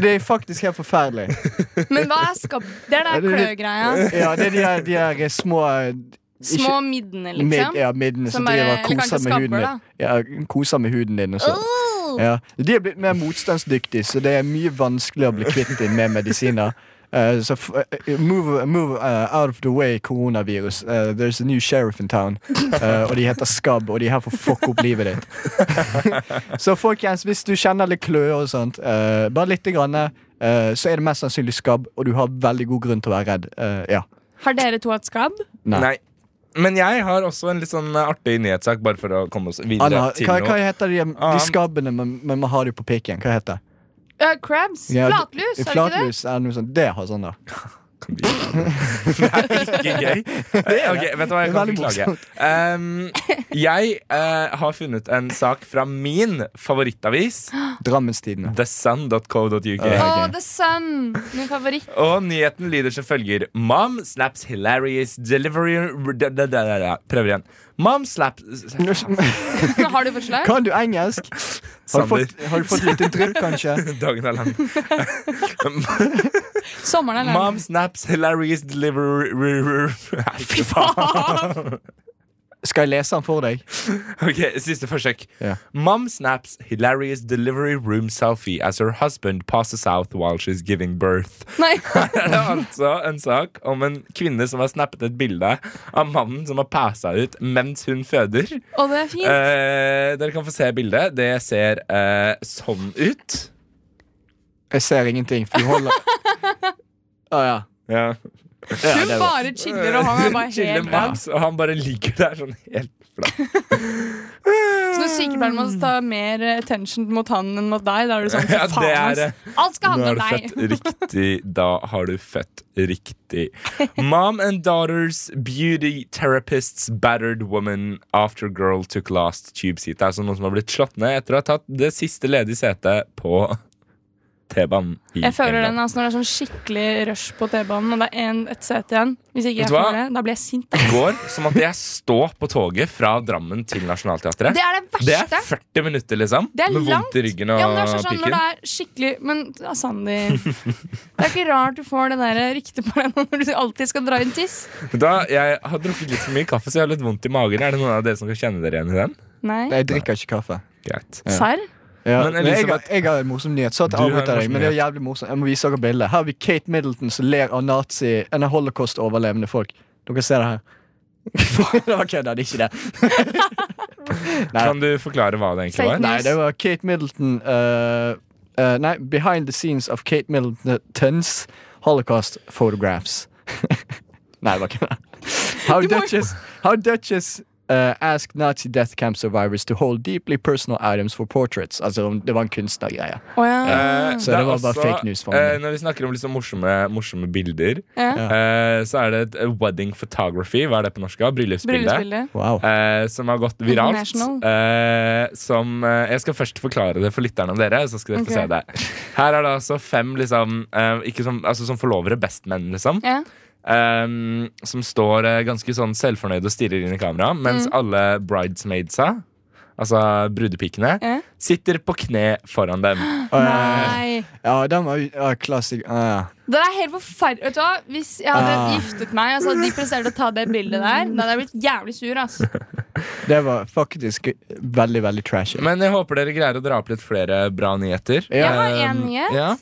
[SPEAKER 4] Det er faktisk helt forferdelig.
[SPEAKER 8] Men hva er skabb... Det er
[SPEAKER 4] Er
[SPEAKER 8] den
[SPEAKER 4] det litt-
[SPEAKER 8] kløgreia.
[SPEAKER 4] Ja, det er de her, de her eh, små
[SPEAKER 8] Små middene,
[SPEAKER 4] Mid,
[SPEAKER 8] liksom.
[SPEAKER 4] ja, middene som
[SPEAKER 8] Som bare-
[SPEAKER 4] driver og
[SPEAKER 8] eller
[SPEAKER 4] koser
[SPEAKER 8] kanskje
[SPEAKER 4] med huden
[SPEAKER 8] skabber,
[SPEAKER 4] din. Ja, koser med huden din og sånn. Ja. De er blitt mer motstandsdyktige, så det er mye vanskeligere å bli kvitt dem med medisiner. Eh, så f eh, move, move eh, out of the way, koronavirus. Eh, there's a new sheriff in town. Eh, og de heter Skabb, og de er her for å fucke opp livet ditt. så folkens, hvis du kjenner litt kløe og sånt, eh, bare lite grann, eh, så er det mest sannsynlig skabb, og du har veldig god grunn til å være redd. Eh, ja.
[SPEAKER 8] Har dere to hatt skabb?
[SPEAKER 4] Nei.
[SPEAKER 7] Nei. Men jeg har også en litt sånn eh, artig nyhetssak, bare for å komme oss videre
[SPEAKER 4] Anna,
[SPEAKER 7] til
[SPEAKER 4] hva, hva
[SPEAKER 7] noe.
[SPEAKER 4] heter de,
[SPEAKER 7] Ah.
[SPEAKER 4] de skabbene man, man har jo på pikken? Hva heter det?
[SPEAKER 8] Uh, crabs?
[SPEAKER 4] Ja, d-
[SPEAKER 8] Flatlus, er det ikke det?
[SPEAKER 4] Flatlus er noe sånt. Det har sånn, da.
[SPEAKER 7] Kan vi- Det er ikke gøy. Det er, ok, vet du hva, jeg
[SPEAKER 4] Det er
[SPEAKER 7] kan
[SPEAKER 4] veldig
[SPEAKER 7] beklage. Um, jeg eh, har funnet en sak fra min favorittavis,
[SPEAKER 4] Drammenstidene.
[SPEAKER 7] thesun.co.uk.
[SPEAKER 8] Å,
[SPEAKER 4] Ja, ok.
[SPEAKER 8] The Sun! Min favoritt.
[SPEAKER 7] Og nyheten lyder som følger Mom slaps hilarious delivery da, da, da, da, da. Prøver igjen Mom slaps
[SPEAKER 8] Har du forslag?
[SPEAKER 4] Kan du engelsk? Har du fått, har du fått lite drypp, kanskje?
[SPEAKER 7] Dagen er lang
[SPEAKER 8] Sommeren er lang.
[SPEAKER 7] Mom snaps hilarious delivery Fy faen
[SPEAKER 4] Skal jeg lese den for deg?
[SPEAKER 7] Ok, Siste forsøk.
[SPEAKER 4] Ja.
[SPEAKER 7] Mom snaps hilarious delivery room selfie as her husband passes out while she's giving birth.
[SPEAKER 8] Nei.
[SPEAKER 7] Her er det altså en sak om en kvinne som har snappet et bilde av mannen som har passa ut mens hun føder.
[SPEAKER 8] Og det er fint.
[SPEAKER 7] Eh, dere kan få se bildet. Det ser eh, sånn ut.
[SPEAKER 4] Jeg ser ingenting, for du holder Å ja.
[SPEAKER 7] Ja.
[SPEAKER 4] ja
[SPEAKER 8] Hun
[SPEAKER 4] det var-
[SPEAKER 8] bare chiller, og han er bare
[SPEAKER 7] Chiller
[SPEAKER 8] helt
[SPEAKER 7] Max, og han bare ligger der sånn helt flatt.
[SPEAKER 8] Så når sykepleieren må ta mer eh, attention mot han enn mot deg, da er du sånn
[SPEAKER 7] Ja,
[SPEAKER 8] for faen,
[SPEAKER 7] det er
[SPEAKER 8] ass.
[SPEAKER 7] eh,
[SPEAKER 8] Alt skal
[SPEAKER 7] Nå
[SPEAKER 8] handle
[SPEAKER 7] har
[SPEAKER 8] om
[SPEAKER 7] du født
[SPEAKER 8] deg.
[SPEAKER 7] riktig. Da har du født riktig. Mom and daughters, beauty therapists, battered woman after girl took last tube seat. Det er altså noen som har blitt slått ned etter å ha tatt det siste ledige setet på T-banen. i
[SPEAKER 8] Jeg føler den
[SPEAKER 7] England.
[SPEAKER 8] altså, når det er sånn skikkelig rush på T-banen, og det er en, et sete igjen. Hvis ikke
[SPEAKER 7] Vet
[SPEAKER 8] jeg
[SPEAKER 7] du hva?
[SPEAKER 8] får det, da blir jeg sint.
[SPEAKER 7] I går så måtte jeg stå på toget fra Drammen til Nationaltheatret.
[SPEAKER 8] Det er det
[SPEAKER 7] Det er
[SPEAKER 8] verste.
[SPEAKER 7] 40 minutter, liksom.
[SPEAKER 8] Det er
[SPEAKER 7] med vondt i ryggen og
[SPEAKER 8] Ja, men det er sånn, sånn når
[SPEAKER 7] pikken.
[SPEAKER 8] det er skikkelig Men ja, Sandi Det er ikke rart du får det der ryktet på deg når du alltid skal dra inn tiss.
[SPEAKER 7] Da, jeg har drukket litt for mye kaffe, så jeg har litt vondt i magen. Er det noen av dere som kan kjenne dere igjen i den?
[SPEAKER 8] Nei.
[SPEAKER 4] Jeg drikker ikke kaffe.
[SPEAKER 7] Greit.
[SPEAKER 8] Serr?
[SPEAKER 4] Ja.
[SPEAKER 7] Men
[SPEAKER 4] Men jeg, har-
[SPEAKER 7] Elisabeth-
[SPEAKER 4] jeg har en morsom nyhet. Så at jeg
[SPEAKER 7] Du har en
[SPEAKER 4] avbryter deg,
[SPEAKER 7] morsom
[SPEAKER 4] men det er jævlig morsomt. Jeg må vise dere bildet. Her har vi Kate Middleton som ler av nazi En av holocaust-overlevende folk. Dere ser det her. det var kødda, det er ikke det. Nei.
[SPEAKER 7] Kan du forklare hva det egentlig
[SPEAKER 8] Fake
[SPEAKER 7] var?
[SPEAKER 8] news.
[SPEAKER 4] Nei, det var Kate Middleton eh, eh, Nei, Behind the Scenes of Kate Middleton's Holocaust Photographs. nei, det var ikke det. How Duchess, how Duchess eh, asked Nazi death camp survivors to hold deeply personal items for portraits. Altså, det var en kunstnergreie.
[SPEAKER 8] Å ja.
[SPEAKER 7] Eh,
[SPEAKER 4] Så det var bare fake news for meg.
[SPEAKER 7] eh, Når vi snakker om liksom morsomme, morsomme bilder,
[SPEAKER 8] ja.
[SPEAKER 7] eh, så er det et wedding photography. Hva er det på norsk? da? Bryllupsbilde.
[SPEAKER 8] Bryllupsbildet.
[SPEAKER 4] Wow.
[SPEAKER 7] eh, som har gått viralt.
[SPEAKER 8] International.
[SPEAKER 7] Eh, som, eh, jeg skal først forklare det for lytterne av dere. Så skal dere
[SPEAKER 8] Ok.
[SPEAKER 7] få se det Her er det altså fem liksom, eh, ikke som, altså, som forlovere, bestmenn, liksom.
[SPEAKER 8] Ja.
[SPEAKER 7] eh, som står eh, ganske sånn selvfornøyde og stirrer inn i kamera, mens
[SPEAKER 8] Mm.
[SPEAKER 7] alle bridesmaidsa, altså brudepikene,
[SPEAKER 8] Ja.
[SPEAKER 7] sitter på kne foran dem.
[SPEAKER 8] Nei.
[SPEAKER 4] Ja, den var jo- ja, klassik... ja.
[SPEAKER 8] Det er helt forferdelig. Vet du hva? Hvis jeg hadde
[SPEAKER 4] Ah.
[SPEAKER 8] giftet meg og så hadde de prestert å ta det bildet der, da hadde jeg blitt jævlig sur. ass
[SPEAKER 4] det var faktisk veldig, veldig trashy.
[SPEAKER 7] Men jeg håper dere greier å dra opp litt flere bra nyheter.
[SPEAKER 4] Ja.
[SPEAKER 8] Jeg har
[SPEAKER 7] Eh,
[SPEAKER 8] én nyhet,
[SPEAKER 7] Ja.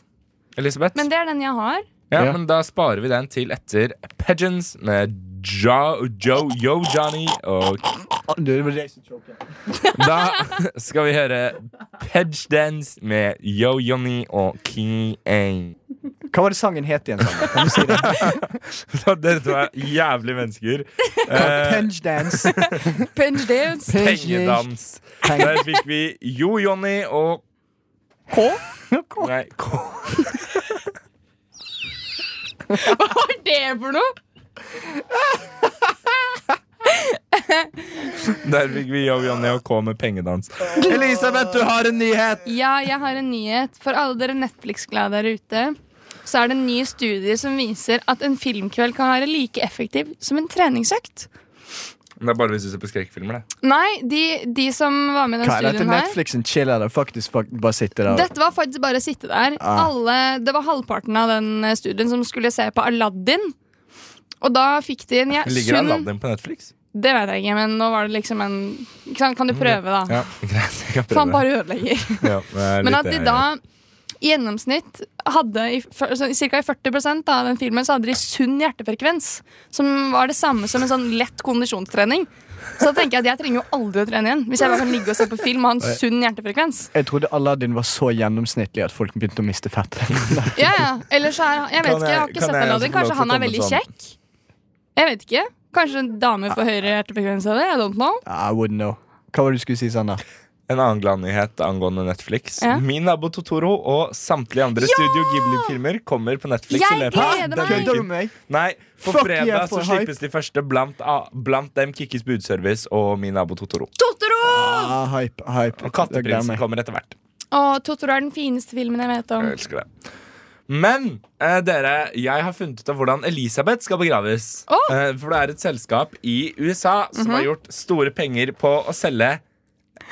[SPEAKER 7] Elisabeth?
[SPEAKER 8] men det er den jeg har.
[SPEAKER 7] ja,
[SPEAKER 4] Ja.
[SPEAKER 7] men da sparer vi den til etter Pigeons med jo, jo, Yo Johnny. Og
[SPEAKER 4] um, Du, det var det som choket.
[SPEAKER 7] da skal vi høre Pigeons med Yo Johnny og King A.
[SPEAKER 4] Hva var det sangen het igjen? Sanne? Kan du si det?
[SPEAKER 7] Så Dere to er jævlig mennesker. Eh,
[SPEAKER 4] Penge dance.
[SPEAKER 8] Punch dance.
[SPEAKER 7] Pengedans.
[SPEAKER 4] Penge-
[SPEAKER 7] Der fikk vi Yo Johnny og K? Nei, K.
[SPEAKER 8] Hva var det for noe?
[SPEAKER 7] Der fikk vi Yo Johnny og K med pengedans.
[SPEAKER 4] Elisabeth, du har en nyhet!
[SPEAKER 8] Ja, jeg har en nyhet. For alle dere Netflix-glade der ute, så er det en ny studie som viser at en filmkveld kan være like effektiv som en treningsøkt.
[SPEAKER 7] Det er bare hvis du ser på skrekkfilmer, det.
[SPEAKER 8] Nei, de, de som var med i den
[SPEAKER 4] Hva er dette
[SPEAKER 8] studien her
[SPEAKER 4] Netflix and chill eller faktisk, fak- bare sitter der? og-
[SPEAKER 8] Dette var faktisk bare å sitte der.
[SPEAKER 4] Ah.
[SPEAKER 8] Alle, det var halvparten av den eh, studien som skulle se på Aladdin. Og da fikk de en ja,
[SPEAKER 7] Ligger
[SPEAKER 8] sunn
[SPEAKER 7] Aladdin på Netflix?
[SPEAKER 8] Det vet jeg ikke, men nå var det liksom en ikke sant, Kan du prøve, da?
[SPEAKER 7] Mm. Ja, greit. Jeg kan
[SPEAKER 8] For
[SPEAKER 7] prøve.
[SPEAKER 8] han Ah. bare ødelegger.
[SPEAKER 7] Ja, det er litt
[SPEAKER 8] Men
[SPEAKER 7] eh,
[SPEAKER 8] at de
[SPEAKER 7] det jeg
[SPEAKER 8] da
[SPEAKER 7] gjør.
[SPEAKER 8] i gjennomsnitt hadde i, fyr- så cirka i 40 da, av den filmen så hadde de sunn hjertefrekvens. Som var det samme som en sånn lett kondisjonstrening. Så da tenker jeg at jeg trenger jo aldri å trene igjen. Hvis jeg bare kan ligge og se på film og ha en sunn hjertefrekvens.
[SPEAKER 4] Jeg trodde Aladdin var så gjennomsnittlig at folk begynte å miste fett.
[SPEAKER 8] Ja, ja. Eller så er han Jeg
[SPEAKER 7] Kan
[SPEAKER 8] vet ikke, jeg har
[SPEAKER 7] jeg-
[SPEAKER 8] ikke
[SPEAKER 7] kan
[SPEAKER 8] sett
[SPEAKER 7] jeg også få
[SPEAKER 8] Aladdin.
[SPEAKER 7] lov til
[SPEAKER 8] Kanskje
[SPEAKER 7] å
[SPEAKER 8] han er
[SPEAKER 7] komme
[SPEAKER 8] veldig
[SPEAKER 7] sånn?
[SPEAKER 8] kjekk? Jeg vet ikke. Kanskje en dame får høyere hjertefrekvens av det? I don't know.
[SPEAKER 4] I wouldn't know. Hva var det du skulle si, Sanna?
[SPEAKER 7] En annen gladnyhet angående Netflix.
[SPEAKER 8] Ja.
[SPEAKER 7] Min nabo Totoro og samtlige andre Studio Ghibli-filmer kommer på Netflix.
[SPEAKER 8] Jeg
[SPEAKER 7] i løpet av
[SPEAKER 8] gleder
[SPEAKER 7] denne
[SPEAKER 8] meg!
[SPEAKER 7] uken.
[SPEAKER 4] Kødder du med meg?
[SPEAKER 7] Nei, På
[SPEAKER 4] Fuck
[SPEAKER 7] fredag
[SPEAKER 4] yeah,
[SPEAKER 7] så
[SPEAKER 4] for hype.
[SPEAKER 7] slippes de første blant, a- blant dem Kikkis budservice og Min nabo Totoro.
[SPEAKER 8] Totoro!
[SPEAKER 4] Ah, hype, hype.
[SPEAKER 7] Og
[SPEAKER 4] Jeg gleder
[SPEAKER 7] Katteprinsen
[SPEAKER 4] meg.
[SPEAKER 7] kommer etter hvert.
[SPEAKER 8] Å, Totoro er den fineste filmen jeg vet om.
[SPEAKER 7] Jeg elsker det. Men eh, dere, jeg har funnet ut av hvordan Elisabeth skal begraves.
[SPEAKER 8] Åh!
[SPEAKER 7] Eh, for det er et selskap i USA som har gjort store penger på å selge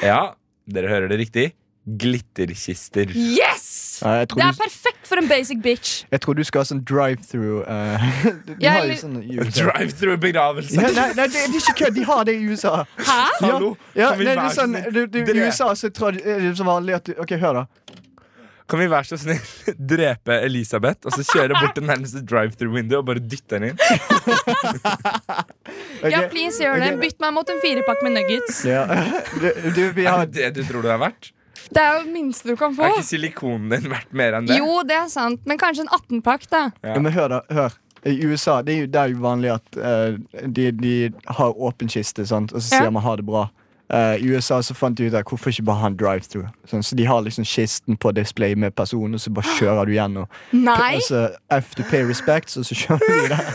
[SPEAKER 7] Ja, dere hører det riktig. glitterkister.
[SPEAKER 8] Yes!
[SPEAKER 4] Eh, jeg,
[SPEAKER 8] Det
[SPEAKER 4] tror
[SPEAKER 8] er
[SPEAKER 4] du,
[SPEAKER 8] perfekt for en basic bitch.
[SPEAKER 4] jeg tror du skal ha sånn drive-through. eh, du
[SPEAKER 8] Ja,
[SPEAKER 4] har jo
[SPEAKER 8] eller-
[SPEAKER 4] sånn i USA.
[SPEAKER 7] Drive-through begravelse.
[SPEAKER 4] Nei, nei, nei, det det er ikke kødd. De har det i USA.
[SPEAKER 8] Hæ?
[SPEAKER 7] Hallo,
[SPEAKER 4] Ja,
[SPEAKER 7] kan, vi
[SPEAKER 4] nei, det
[SPEAKER 7] være
[SPEAKER 4] er
[SPEAKER 7] så
[SPEAKER 4] sånn,
[SPEAKER 7] snill-
[SPEAKER 4] du, du, I
[SPEAKER 7] Dre-
[SPEAKER 4] USA så tror jeg- er det som vanlig at du OK, hør, da.
[SPEAKER 7] kan vi være så snill drepe Elisabeth og så kjøre bort til nærmeste drive-through-window og bare dytte henne inn?
[SPEAKER 4] Ok?
[SPEAKER 8] Ja, please gjør det. Bytt meg mot en firepakke med nuggets.
[SPEAKER 4] Ja. Du, du, vi har
[SPEAKER 7] Er det det du tror du er verdt?
[SPEAKER 8] Det er jo det minste du kan få.
[SPEAKER 7] Er ikke silikonen din verdt mer enn det?
[SPEAKER 8] Jo, det er sant, men kanskje en 18-pakk, da.
[SPEAKER 4] ja, Men hør, da. Hør. I USA det er jo, det er jo vanlig at eh, de, de har åpen kiste, sant? og så
[SPEAKER 8] Ja.
[SPEAKER 4] sier man ha det bra. Eh, I USA så fant de ut at hvorfor ikke bare ha en drive-through. Sånn, så de har liksom kisten på display med personen, og så bare kjører du gjennom.
[SPEAKER 8] Nei,
[SPEAKER 4] Og så F to pay respects, og så kjører du der.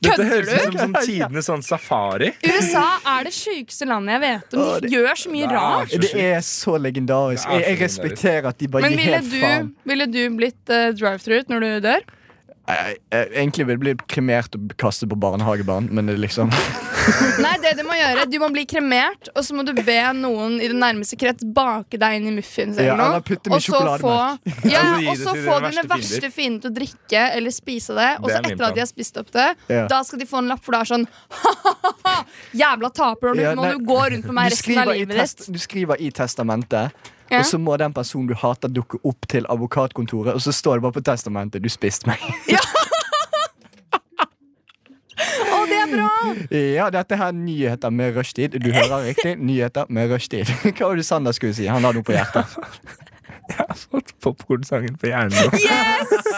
[SPEAKER 7] Dette
[SPEAKER 8] kødder
[SPEAKER 7] høres
[SPEAKER 8] du?
[SPEAKER 7] ut som sånn tidenes sånn safari.
[SPEAKER 8] USA er det sjukeste landet jeg vet om.
[SPEAKER 4] Å,
[SPEAKER 8] De
[SPEAKER 4] det-
[SPEAKER 8] gjør så mye
[SPEAKER 7] Nei.
[SPEAKER 8] rart.
[SPEAKER 4] Det er så legendarisk.
[SPEAKER 7] Det er så
[SPEAKER 4] Jeg, jeg
[SPEAKER 7] legendarisk.
[SPEAKER 4] respekterer at de bare
[SPEAKER 8] Men
[SPEAKER 4] gir
[SPEAKER 8] ville
[SPEAKER 4] helt faen.
[SPEAKER 8] du, ville du blitt uh, drive-through når du dør?
[SPEAKER 4] Jeg, jeg, egentlig vil jeg bli kremert og kastet på barnehagebarn, men det er liksom
[SPEAKER 8] Nei, det du må gjøre, du må bli kremert, og så må du be noen i den nærmeste krets bake deg inn i muffins eller
[SPEAKER 4] Ja,
[SPEAKER 8] noe.
[SPEAKER 4] eller putte dem i
[SPEAKER 8] og så få, ja,
[SPEAKER 7] Eller gi
[SPEAKER 8] og
[SPEAKER 7] det
[SPEAKER 8] så
[SPEAKER 7] til
[SPEAKER 8] få
[SPEAKER 7] dine
[SPEAKER 8] dine
[SPEAKER 7] verste
[SPEAKER 8] verste fiender til å drikke eller spise det. Og
[SPEAKER 7] Det
[SPEAKER 8] så
[SPEAKER 7] er min
[SPEAKER 8] etter
[SPEAKER 7] plan.
[SPEAKER 8] at de har spist opp det,
[SPEAKER 4] Ja.
[SPEAKER 8] da skal de få en lapp, for det er sånn ha-ha-ha, jævla taper, og
[SPEAKER 4] Ja,
[SPEAKER 8] nå må
[SPEAKER 4] nei.
[SPEAKER 8] du gå rundt med meg
[SPEAKER 4] du
[SPEAKER 8] resten av
[SPEAKER 4] skriver, i
[SPEAKER 8] livet ditt.
[SPEAKER 4] test, du skriver i testamentet,
[SPEAKER 8] Ja.
[SPEAKER 4] og så må den personen du hater, dukke opp til advokatkontoret, og så står det bare på testamentet 'du spiste meg'.
[SPEAKER 8] Å, det er bra!
[SPEAKER 4] ja, dette her er nyheter med rushtid. Du hører riktig. Nyheter med rushtid. Hva var det Sander skulle si? Han har noe på hjertet.
[SPEAKER 7] Fått popkornsangen på hjernen nå.
[SPEAKER 8] Yes!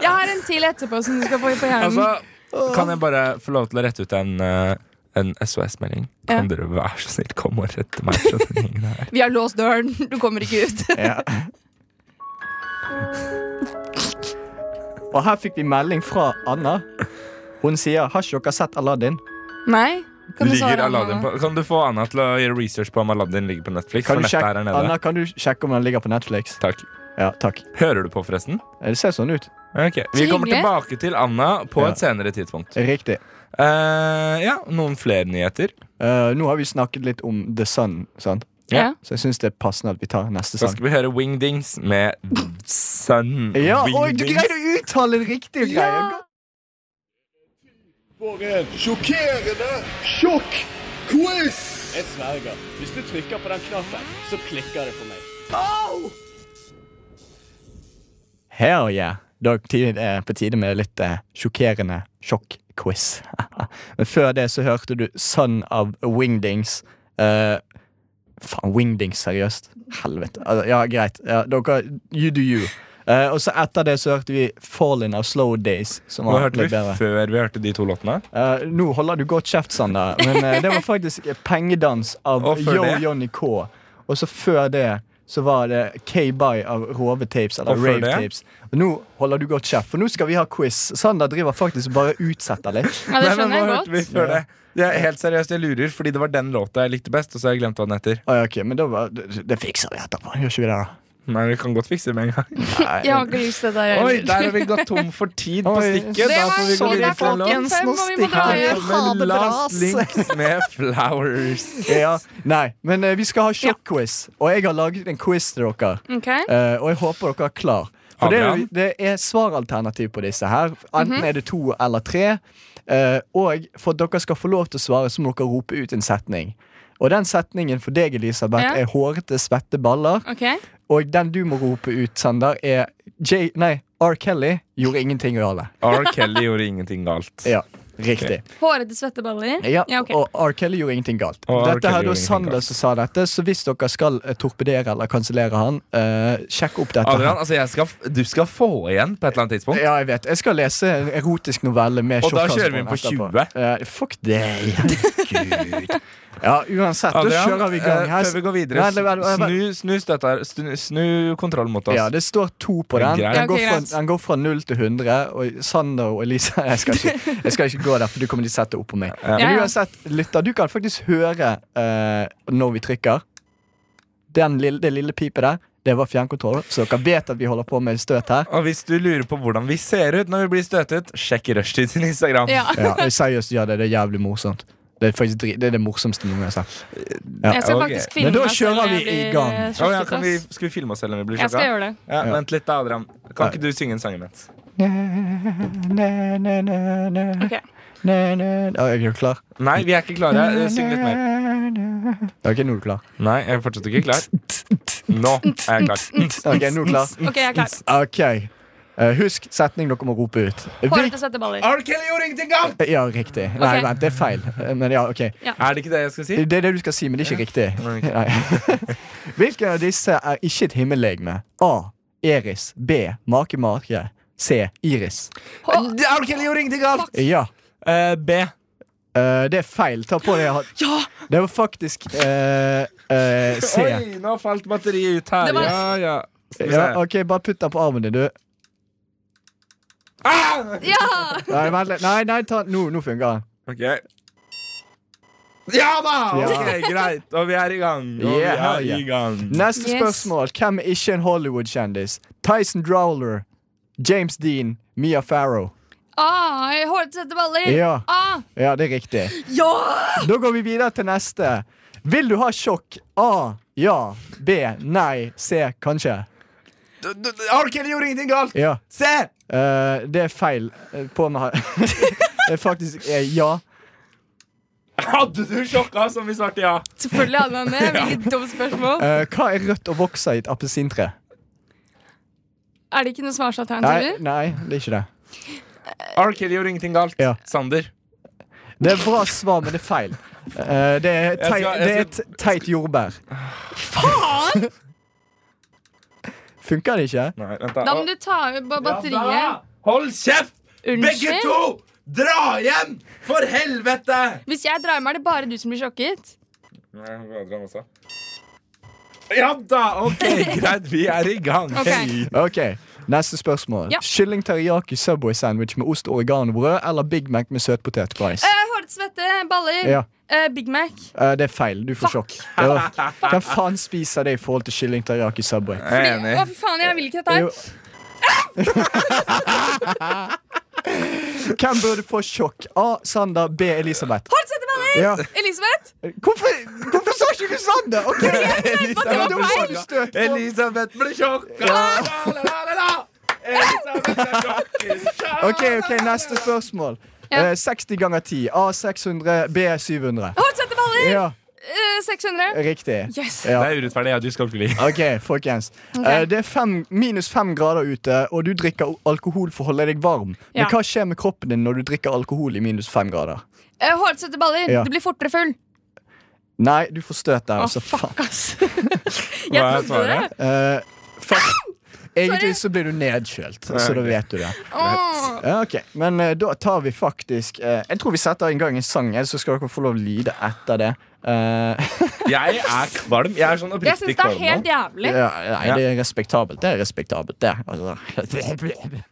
[SPEAKER 8] Jeg har en til etterpå som du skal få på hjernen.
[SPEAKER 7] Altså, kan jeg bare få lov til å rette ut en, eh, en SOS-melding? Kan dere være så snill komme og rette meg fra den gjengen her?
[SPEAKER 8] Vi har låst døren, du kommer ikke ut.
[SPEAKER 4] Ja. Og her fikk vi melding fra Anna. Hun sier 'Har ikke dere sett Aladdin?'
[SPEAKER 8] Nei? Kan du svare
[SPEAKER 7] Ligger
[SPEAKER 8] Anna
[SPEAKER 7] Aladdin
[SPEAKER 8] nå?
[SPEAKER 7] på, kan du få Anna til å gjøre research på om Aladdin ligger på Netflix?
[SPEAKER 4] Kan
[SPEAKER 7] For
[SPEAKER 4] du
[SPEAKER 7] nettet
[SPEAKER 4] sjekke,
[SPEAKER 7] er her nede.
[SPEAKER 4] Anna, kan du sjekke om den ligger på Netflix?
[SPEAKER 7] Takk.
[SPEAKER 4] Ja, takk.
[SPEAKER 7] Hører du på, forresten?
[SPEAKER 4] Det ser sånn ut.
[SPEAKER 7] Ok, Vi
[SPEAKER 8] Så
[SPEAKER 7] kommer
[SPEAKER 8] hyggelig.
[SPEAKER 7] tilbake til Anna på
[SPEAKER 4] Ja.
[SPEAKER 7] et senere tidspunkt.
[SPEAKER 4] Riktig.
[SPEAKER 7] Eh, ja, Noen flere nyheter?
[SPEAKER 4] Eh, nå har vi snakket litt om The Sun, sant?
[SPEAKER 8] Ja.
[SPEAKER 4] så jeg syns det er passende at vi tar neste
[SPEAKER 7] Så
[SPEAKER 4] sang.
[SPEAKER 7] skal vi høre Wingdings med Sun
[SPEAKER 4] Ja, oi, du
[SPEAKER 7] Wingdings.
[SPEAKER 4] greide å uttale det riktige! greier.
[SPEAKER 3] Sjokkerende sjokk-quiz! Jeg sverger. Hvis du trykker på den knappen, så klikker det for meg.
[SPEAKER 4] Hell yeah. Da er det på tide med litt eh, sjokkerende sjokk-quiz. Men før det så hørte du Son of Wingdings. Eh, faen, Wingdings, seriøst? Helvete. Altså, ja, greit. Ja, dere, you do you. Eh, og så etter det så hørte vi Fallen of Slow Days. Som
[SPEAKER 7] Hva
[SPEAKER 4] var
[SPEAKER 7] hørte
[SPEAKER 4] litt
[SPEAKER 7] vi
[SPEAKER 4] bedre.
[SPEAKER 7] før vi hørte de to låtene?
[SPEAKER 4] Eh, nå holder du godt kjeft, Sander, men eh, det var faktisk Pengedans av
[SPEAKER 7] Og før
[SPEAKER 4] Yo
[SPEAKER 7] det?
[SPEAKER 4] Johnny K. Og så før det så var det K-By av Rove Tapes eller
[SPEAKER 7] Og før
[SPEAKER 4] Rave
[SPEAKER 7] det?
[SPEAKER 4] Tapes. Og nå holder du godt kjeft, for nå skal vi ha quiz. Sander driver faktisk bare og utsetter litt.
[SPEAKER 8] Ja, det
[SPEAKER 7] Nei, men
[SPEAKER 8] skjønner jeg
[SPEAKER 7] hva
[SPEAKER 8] godt.
[SPEAKER 7] hørte vi før det? Ja, helt seriøst, jeg lurer, fordi det var den låta jeg likte best, og så har jeg glemt hva den heter.
[SPEAKER 4] Ah, ja, ok, men da var, det, det fikser vi etterpå. Gjør ikke vi det, da?
[SPEAKER 7] Nei, vi kan godt fikse det med en gang.
[SPEAKER 8] Jeg har ikke lyst til det der
[SPEAKER 7] Oi,
[SPEAKER 8] heller.
[SPEAKER 7] der har vi gått tom for tid på
[SPEAKER 4] Oi.
[SPEAKER 7] stikket.
[SPEAKER 8] Det
[SPEAKER 7] Da
[SPEAKER 8] var sånn
[SPEAKER 7] får vi gå videre til
[SPEAKER 8] så det,
[SPEAKER 7] en låt.
[SPEAKER 8] folkens. Fem, og vi må dra
[SPEAKER 4] Her
[SPEAKER 8] hjem.
[SPEAKER 4] kommer
[SPEAKER 7] Med Last
[SPEAKER 4] Last
[SPEAKER 8] altså.
[SPEAKER 4] Link.
[SPEAKER 7] Links med Flowers.
[SPEAKER 4] Ja, nei, men eh, vi skal ha sjokk-quiz, og jeg har laget en quiz til dere.
[SPEAKER 8] Ok.
[SPEAKER 4] Eh, og jeg håper dere er klar. For det er, jo-
[SPEAKER 7] Adrian?
[SPEAKER 4] det er svaralternativ på disse her. Enten
[SPEAKER 8] Mhm.
[SPEAKER 4] er det to eller tre. Eh, og for at dere skal få lov til å svare, så må dere rope ut en setning. Og den setningen for deg, Elisabeth,
[SPEAKER 8] Ja.
[SPEAKER 4] er hårete, svette baller.
[SPEAKER 8] ok.
[SPEAKER 4] Og den du må rope ut, Sander, er J nei, R. Kelly gjorde ingenting galt.
[SPEAKER 7] R. Kelly gjorde ingenting galt.
[SPEAKER 4] Ja, riktig.
[SPEAKER 8] Hårete svetteballer?
[SPEAKER 4] Ja,
[SPEAKER 8] Ja, ok.
[SPEAKER 4] Og R. Kelly gjorde ingenting galt.
[SPEAKER 7] Og R.
[SPEAKER 4] Dette
[SPEAKER 7] Kelly
[SPEAKER 4] her er da
[SPEAKER 7] gjorde ingenting
[SPEAKER 4] Sander
[SPEAKER 7] galt.
[SPEAKER 4] som sa dette, så hvis dere skal eh, torpedere eller kansellere han, eh, sjekk opp dette. her
[SPEAKER 7] Adrian, altså jeg skal, f- du skal få igjen på et eller annet tidspunkt.
[SPEAKER 4] Ja, jeg vet. Jeg skal lese en erotisk novelle med
[SPEAKER 7] Og da
[SPEAKER 4] sjokkanse
[SPEAKER 7] kjører vi
[SPEAKER 4] den
[SPEAKER 7] på
[SPEAKER 4] etterpå.
[SPEAKER 7] 20.
[SPEAKER 4] Eh, fuck det. Herregud. Ja, uansett, da
[SPEAKER 7] Adrian,
[SPEAKER 4] kjører vi i gang.
[SPEAKER 7] eh,
[SPEAKER 4] Her-
[SPEAKER 7] før vi går videre,
[SPEAKER 4] Vent, vent, vent, vent.
[SPEAKER 7] snu, snu støtta Snu, snu kontrollen mot oss.
[SPEAKER 4] Ja, det står to på den.
[SPEAKER 7] Greit.
[SPEAKER 8] Ja,
[SPEAKER 4] Den
[SPEAKER 8] ok,
[SPEAKER 4] går
[SPEAKER 8] greit.
[SPEAKER 4] fra, den går fra 0 til 100. Og Sander og Elisa Jeg skal ikke, jeg skal ikke gå der, for du kommer til å sette opp på meg.
[SPEAKER 8] Ja,
[SPEAKER 4] Men
[SPEAKER 8] ja.
[SPEAKER 4] uansett, lytter, du kan faktisk høre eh, når vi trykker. Den lille, det lille pipet der, det var fjernkontroll, så dere vet at vi holder på med støt her.
[SPEAKER 7] Og hvis du lurer på hvordan vi ser ut når vi blir støtet, sjekk Rushtid sin Instagram.
[SPEAKER 8] Ja.
[SPEAKER 4] Ja, seriøst, ja, det, det er jævlig morsomt. Det- Det er faktisk dri- det, er det morsomste noen gang jeg har sagt.
[SPEAKER 8] Jeg skal
[SPEAKER 7] ok.
[SPEAKER 8] faktisk
[SPEAKER 4] Men
[SPEAKER 8] filme
[SPEAKER 4] da
[SPEAKER 8] meg selv
[SPEAKER 4] kjører
[SPEAKER 8] om jeg
[SPEAKER 4] vi i
[SPEAKER 8] blir,
[SPEAKER 4] gang.
[SPEAKER 8] eh,
[SPEAKER 7] Å, ja, kan vi,
[SPEAKER 8] sjokket, ass.
[SPEAKER 7] skal vi filme oss selv om vi blir
[SPEAKER 8] Jeg skal
[SPEAKER 7] sjokka?
[SPEAKER 8] gjøre det.
[SPEAKER 7] Ja, vent litt, da, Adrian. Kan ikke du synge en sang imens?
[SPEAKER 8] Ok.
[SPEAKER 4] Ja, Er du klar?
[SPEAKER 7] Nei, vi er ikke klare. Eh, Syng litt mer.
[SPEAKER 4] Det er ikke noe du er klar.
[SPEAKER 7] Nei, jeg er fortsatt ikke klar. Nå er jeg klar.
[SPEAKER 4] Ok, nå er du klar.
[SPEAKER 8] Ok, jeg er klar.
[SPEAKER 4] Ok. Eh, Husk setning dere må rope ut.
[SPEAKER 8] Hårete svetteballer.
[SPEAKER 7] R. Kelly gjorde ingenting galt!
[SPEAKER 4] Ja, riktig. Nei,
[SPEAKER 8] Ok.
[SPEAKER 4] vent, det er feil. Men ja, ok.
[SPEAKER 7] Er det ikke det jeg skal si?
[SPEAKER 4] Det er det du skal si, men det er ikke riktig.
[SPEAKER 7] Nei, ok.
[SPEAKER 4] Nei. Hvilken av disse er ikke et himmellegeme? A. Eris. B. Makemake. C. Iris.
[SPEAKER 8] Hå-
[SPEAKER 7] R. Kelly gjorde ingenting galt!
[SPEAKER 4] Ja.
[SPEAKER 7] Eh, B.
[SPEAKER 4] eh, det er feil. Ta på deg hatt. Det var faktisk eh, eh, C.
[SPEAKER 7] Oi, nå falt batteriet ut her.
[SPEAKER 8] Det var-
[SPEAKER 7] Ja, ja. Skal vi se.
[SPEAKER 4] Ja, OK, bare putt den på armen din, du.
[SPEAKER 7] Ah!
[SPEAKER 8] Ja!
[SPEAKER 4] Nei, vent litt. Nei, nei, ta Nå, nå funker den.
[SPEAKER 7] Ok. Ja da!
[SPEAKER 4] Ja.
[SPEAKER 7] Ok, Greit. Og vi er i gang. Og
[SPEAKER 4] Yeah,
[SPEAKER 7] vi
[SPEAKER 4] yeah.
[SPEAKER 7] er i gang.
[SPEAKER 4] Neste
[SPEAKER 8] Yes.
[SPEAKER 4] spørsmål. Hvem er ikke en Hollywood-kjendis? Tyson Drowler, James Dean, Mia Farrow.
[SPEAKER 8] Ah, Hårete svetteballer.
[SPEAKER 4] Ja.
[SPEAKER 8] Ah,
[SPEAKER 4] Ja, det er riktig.
[SPEAKER 8] ja!
[SPEAKER 4] Da går vi videre til neste. Vil du ha sjokk? A. Ja. B. Nei. C. Kanskje.
[SPEAKER 7] Du- du- R. Kelly gjorde ingenting galt!
[SPEAKER 4] Ja.
[SPEAKER 7] Se!
[SPEAKER 4] Eh, det er feil. Eh, På meg har Det er faktisk eh, ja.
[SPEAKER 7] Hadde du sjokka som vi svarte ja?
[SPEAKER 8] Selvfølgelig hadde man det. Hvilket dumt spørsmål.
[SPEAKER 4] Eh, hva er rødt og vokser i et appelsintre?
[SPEAKER 8] Er det ikke noen
[SPEAKER 4] Nei,
[SPEAKER 8] svarsalternativer?
[SPEAKER 4] nei, det er ikke det.
[SPEAKER 7] R. Kelly gjorde ingenting galt.
[SPEAKER 4] Ja.
[SPEAKER 7] Sander.
[SPEAKER 4] Det er bra svar, men det er feil. Eh, det, er
[SPEAKER 7] Jeg
[SPEAKER 4] teit,
[SPEAKER 7] skal-
[SPEAKER 4] det er
[SPEAKER 7] jeg
[SPEAKER 4] et teit jordbær. Faen! Funker det ikke?
[SPEAKER 7] Nei, vent da.
[SPEAKER 8] Da må du ta ut ba- batteriet.
[SPEAKER 7] Hold kjeft! Begge
[SPEAKER 8] Unnskyld.
[SPEAKER 7] to! Dra hjem! For helvete!
[SPEAKER 8] Hvis jeg drar meg, er det bare du som blir sjokket.
[SPEAKER 7] Ja da! Ok, greit. Vi er i gang.
[SPEAKER 8] Ok.
[SPEAKER 7] Hei.
[SPEAKER 4] Ok, Neste spørsmål.
[SPEAKER 8] Ja.
[SPEAKER 4] Kylling teriyaki Subway sandwich med ost, oregano og brød eller Big Mac med søtpotet fries?
[SPEAKER 8] Eh, Hårete svette, baller,
[SPEAKER 4] Ja.
[SPEAKER 8] eh, Big Mac.
[SPEAKER 4] Eh, det er feil. Du får sjokk. Det var- Hvem faen spiser det i forhold til kylling teriyaki Subway?
[SPEAKER 7] Jeg er
[SPEAKER 8] Å, fy faen, jeg vil ikke dette
[SPEAKER 4] Jo.
[SPEAKER 8] her.
[SPEAKER 4] Hvem burde få sjokk? A. Sander. B. Elisabeth.
[SPEAKER 8] Hårete svetteballer!
[SPEAKER 4] Ja.
[SPEAKER 8] Elisabeth?
[SPEAKER 4] Hvorfor, hvorfor sa ikke du Sander? Ok,
[SPEAKER 8] var
[SPEAKER 4] Du får
[SPEAKER 8] feil.
[SPEAKER 4] støt på.
[SPEAKER 7] Elisabeth blir sjokka! La, la, la, la. Elisabeth er sjokka.
[SPEAKER 4] Ok, ok, neste spørsmål.
[SPEAKER 8] Ja.
[SPEAKER 4] Eh, 60 ganger 10. A. 600. B. 700.
[SPEAKER 8] Hårete svetteballer!
[SPEAKER 4] Ja,
[SPEAKER 8] Eh, 600.
[SPEAKER 4] riktig.
[SPEAKER 8] Yes.
[SPEAKER 4] Ja.
[SPEAKER 7] Det er urettferdig. Ja, du skal bli.
[SPEAKER 4] Ok, folkens. Eh, det er fem, minus fem grader ute, og du drikker o- alkohol for å holde deg varm. Men
[SPEAKER 8] Ja.
[SPEAKER 4] hva skjer med kroppen din når du drikker alkohol i minus fem grader?
[SPEAKER 8] Eh, Hårete svetteballer.
[SPEAKER 4] Ja.
[SPEAKER 8] Du blir fortere full.
[SPEAKER 4] Nei, du får støt der,
[SPEAKER 8] Å,
[SPEAKER 4] altså. Faen.
[SPEAKER 8] Jeg
[SPEAKER 7] Hva er
[SPEAKER 8] trodde det.
[SPEAKER 7] svaret?
[SPEAKER 4] Eh, fuck. Egentlig så blir du nedkjølt, så da vet du det.
[SPEAKER 8] Åh.
[SPEAKER 4] Ja, ok, Men eh, da tar vi faktisk eh, Jeg tror vi setter i gang en sang, ellers så skal dere få lov å lide etter det. Eh,
[SPEAKER 7] Jeg er kvalm. Jeg er sånn
[SPEAKER 8] Jeg
[SPEAKER 7] oppriktig
[SPEAKER 8] syns det er
[SPEAKER 7] kvalm.
[SPEAKER 8] helt
[SPEAKER 7] nå.
[SPEAKER 8] jævlig.
[SPEAKER 4] ja, nei,
[SPEAKER 7] Ja.
[SPEAKER 4] det er respektabelt. Det er respektabelt, det. Altså.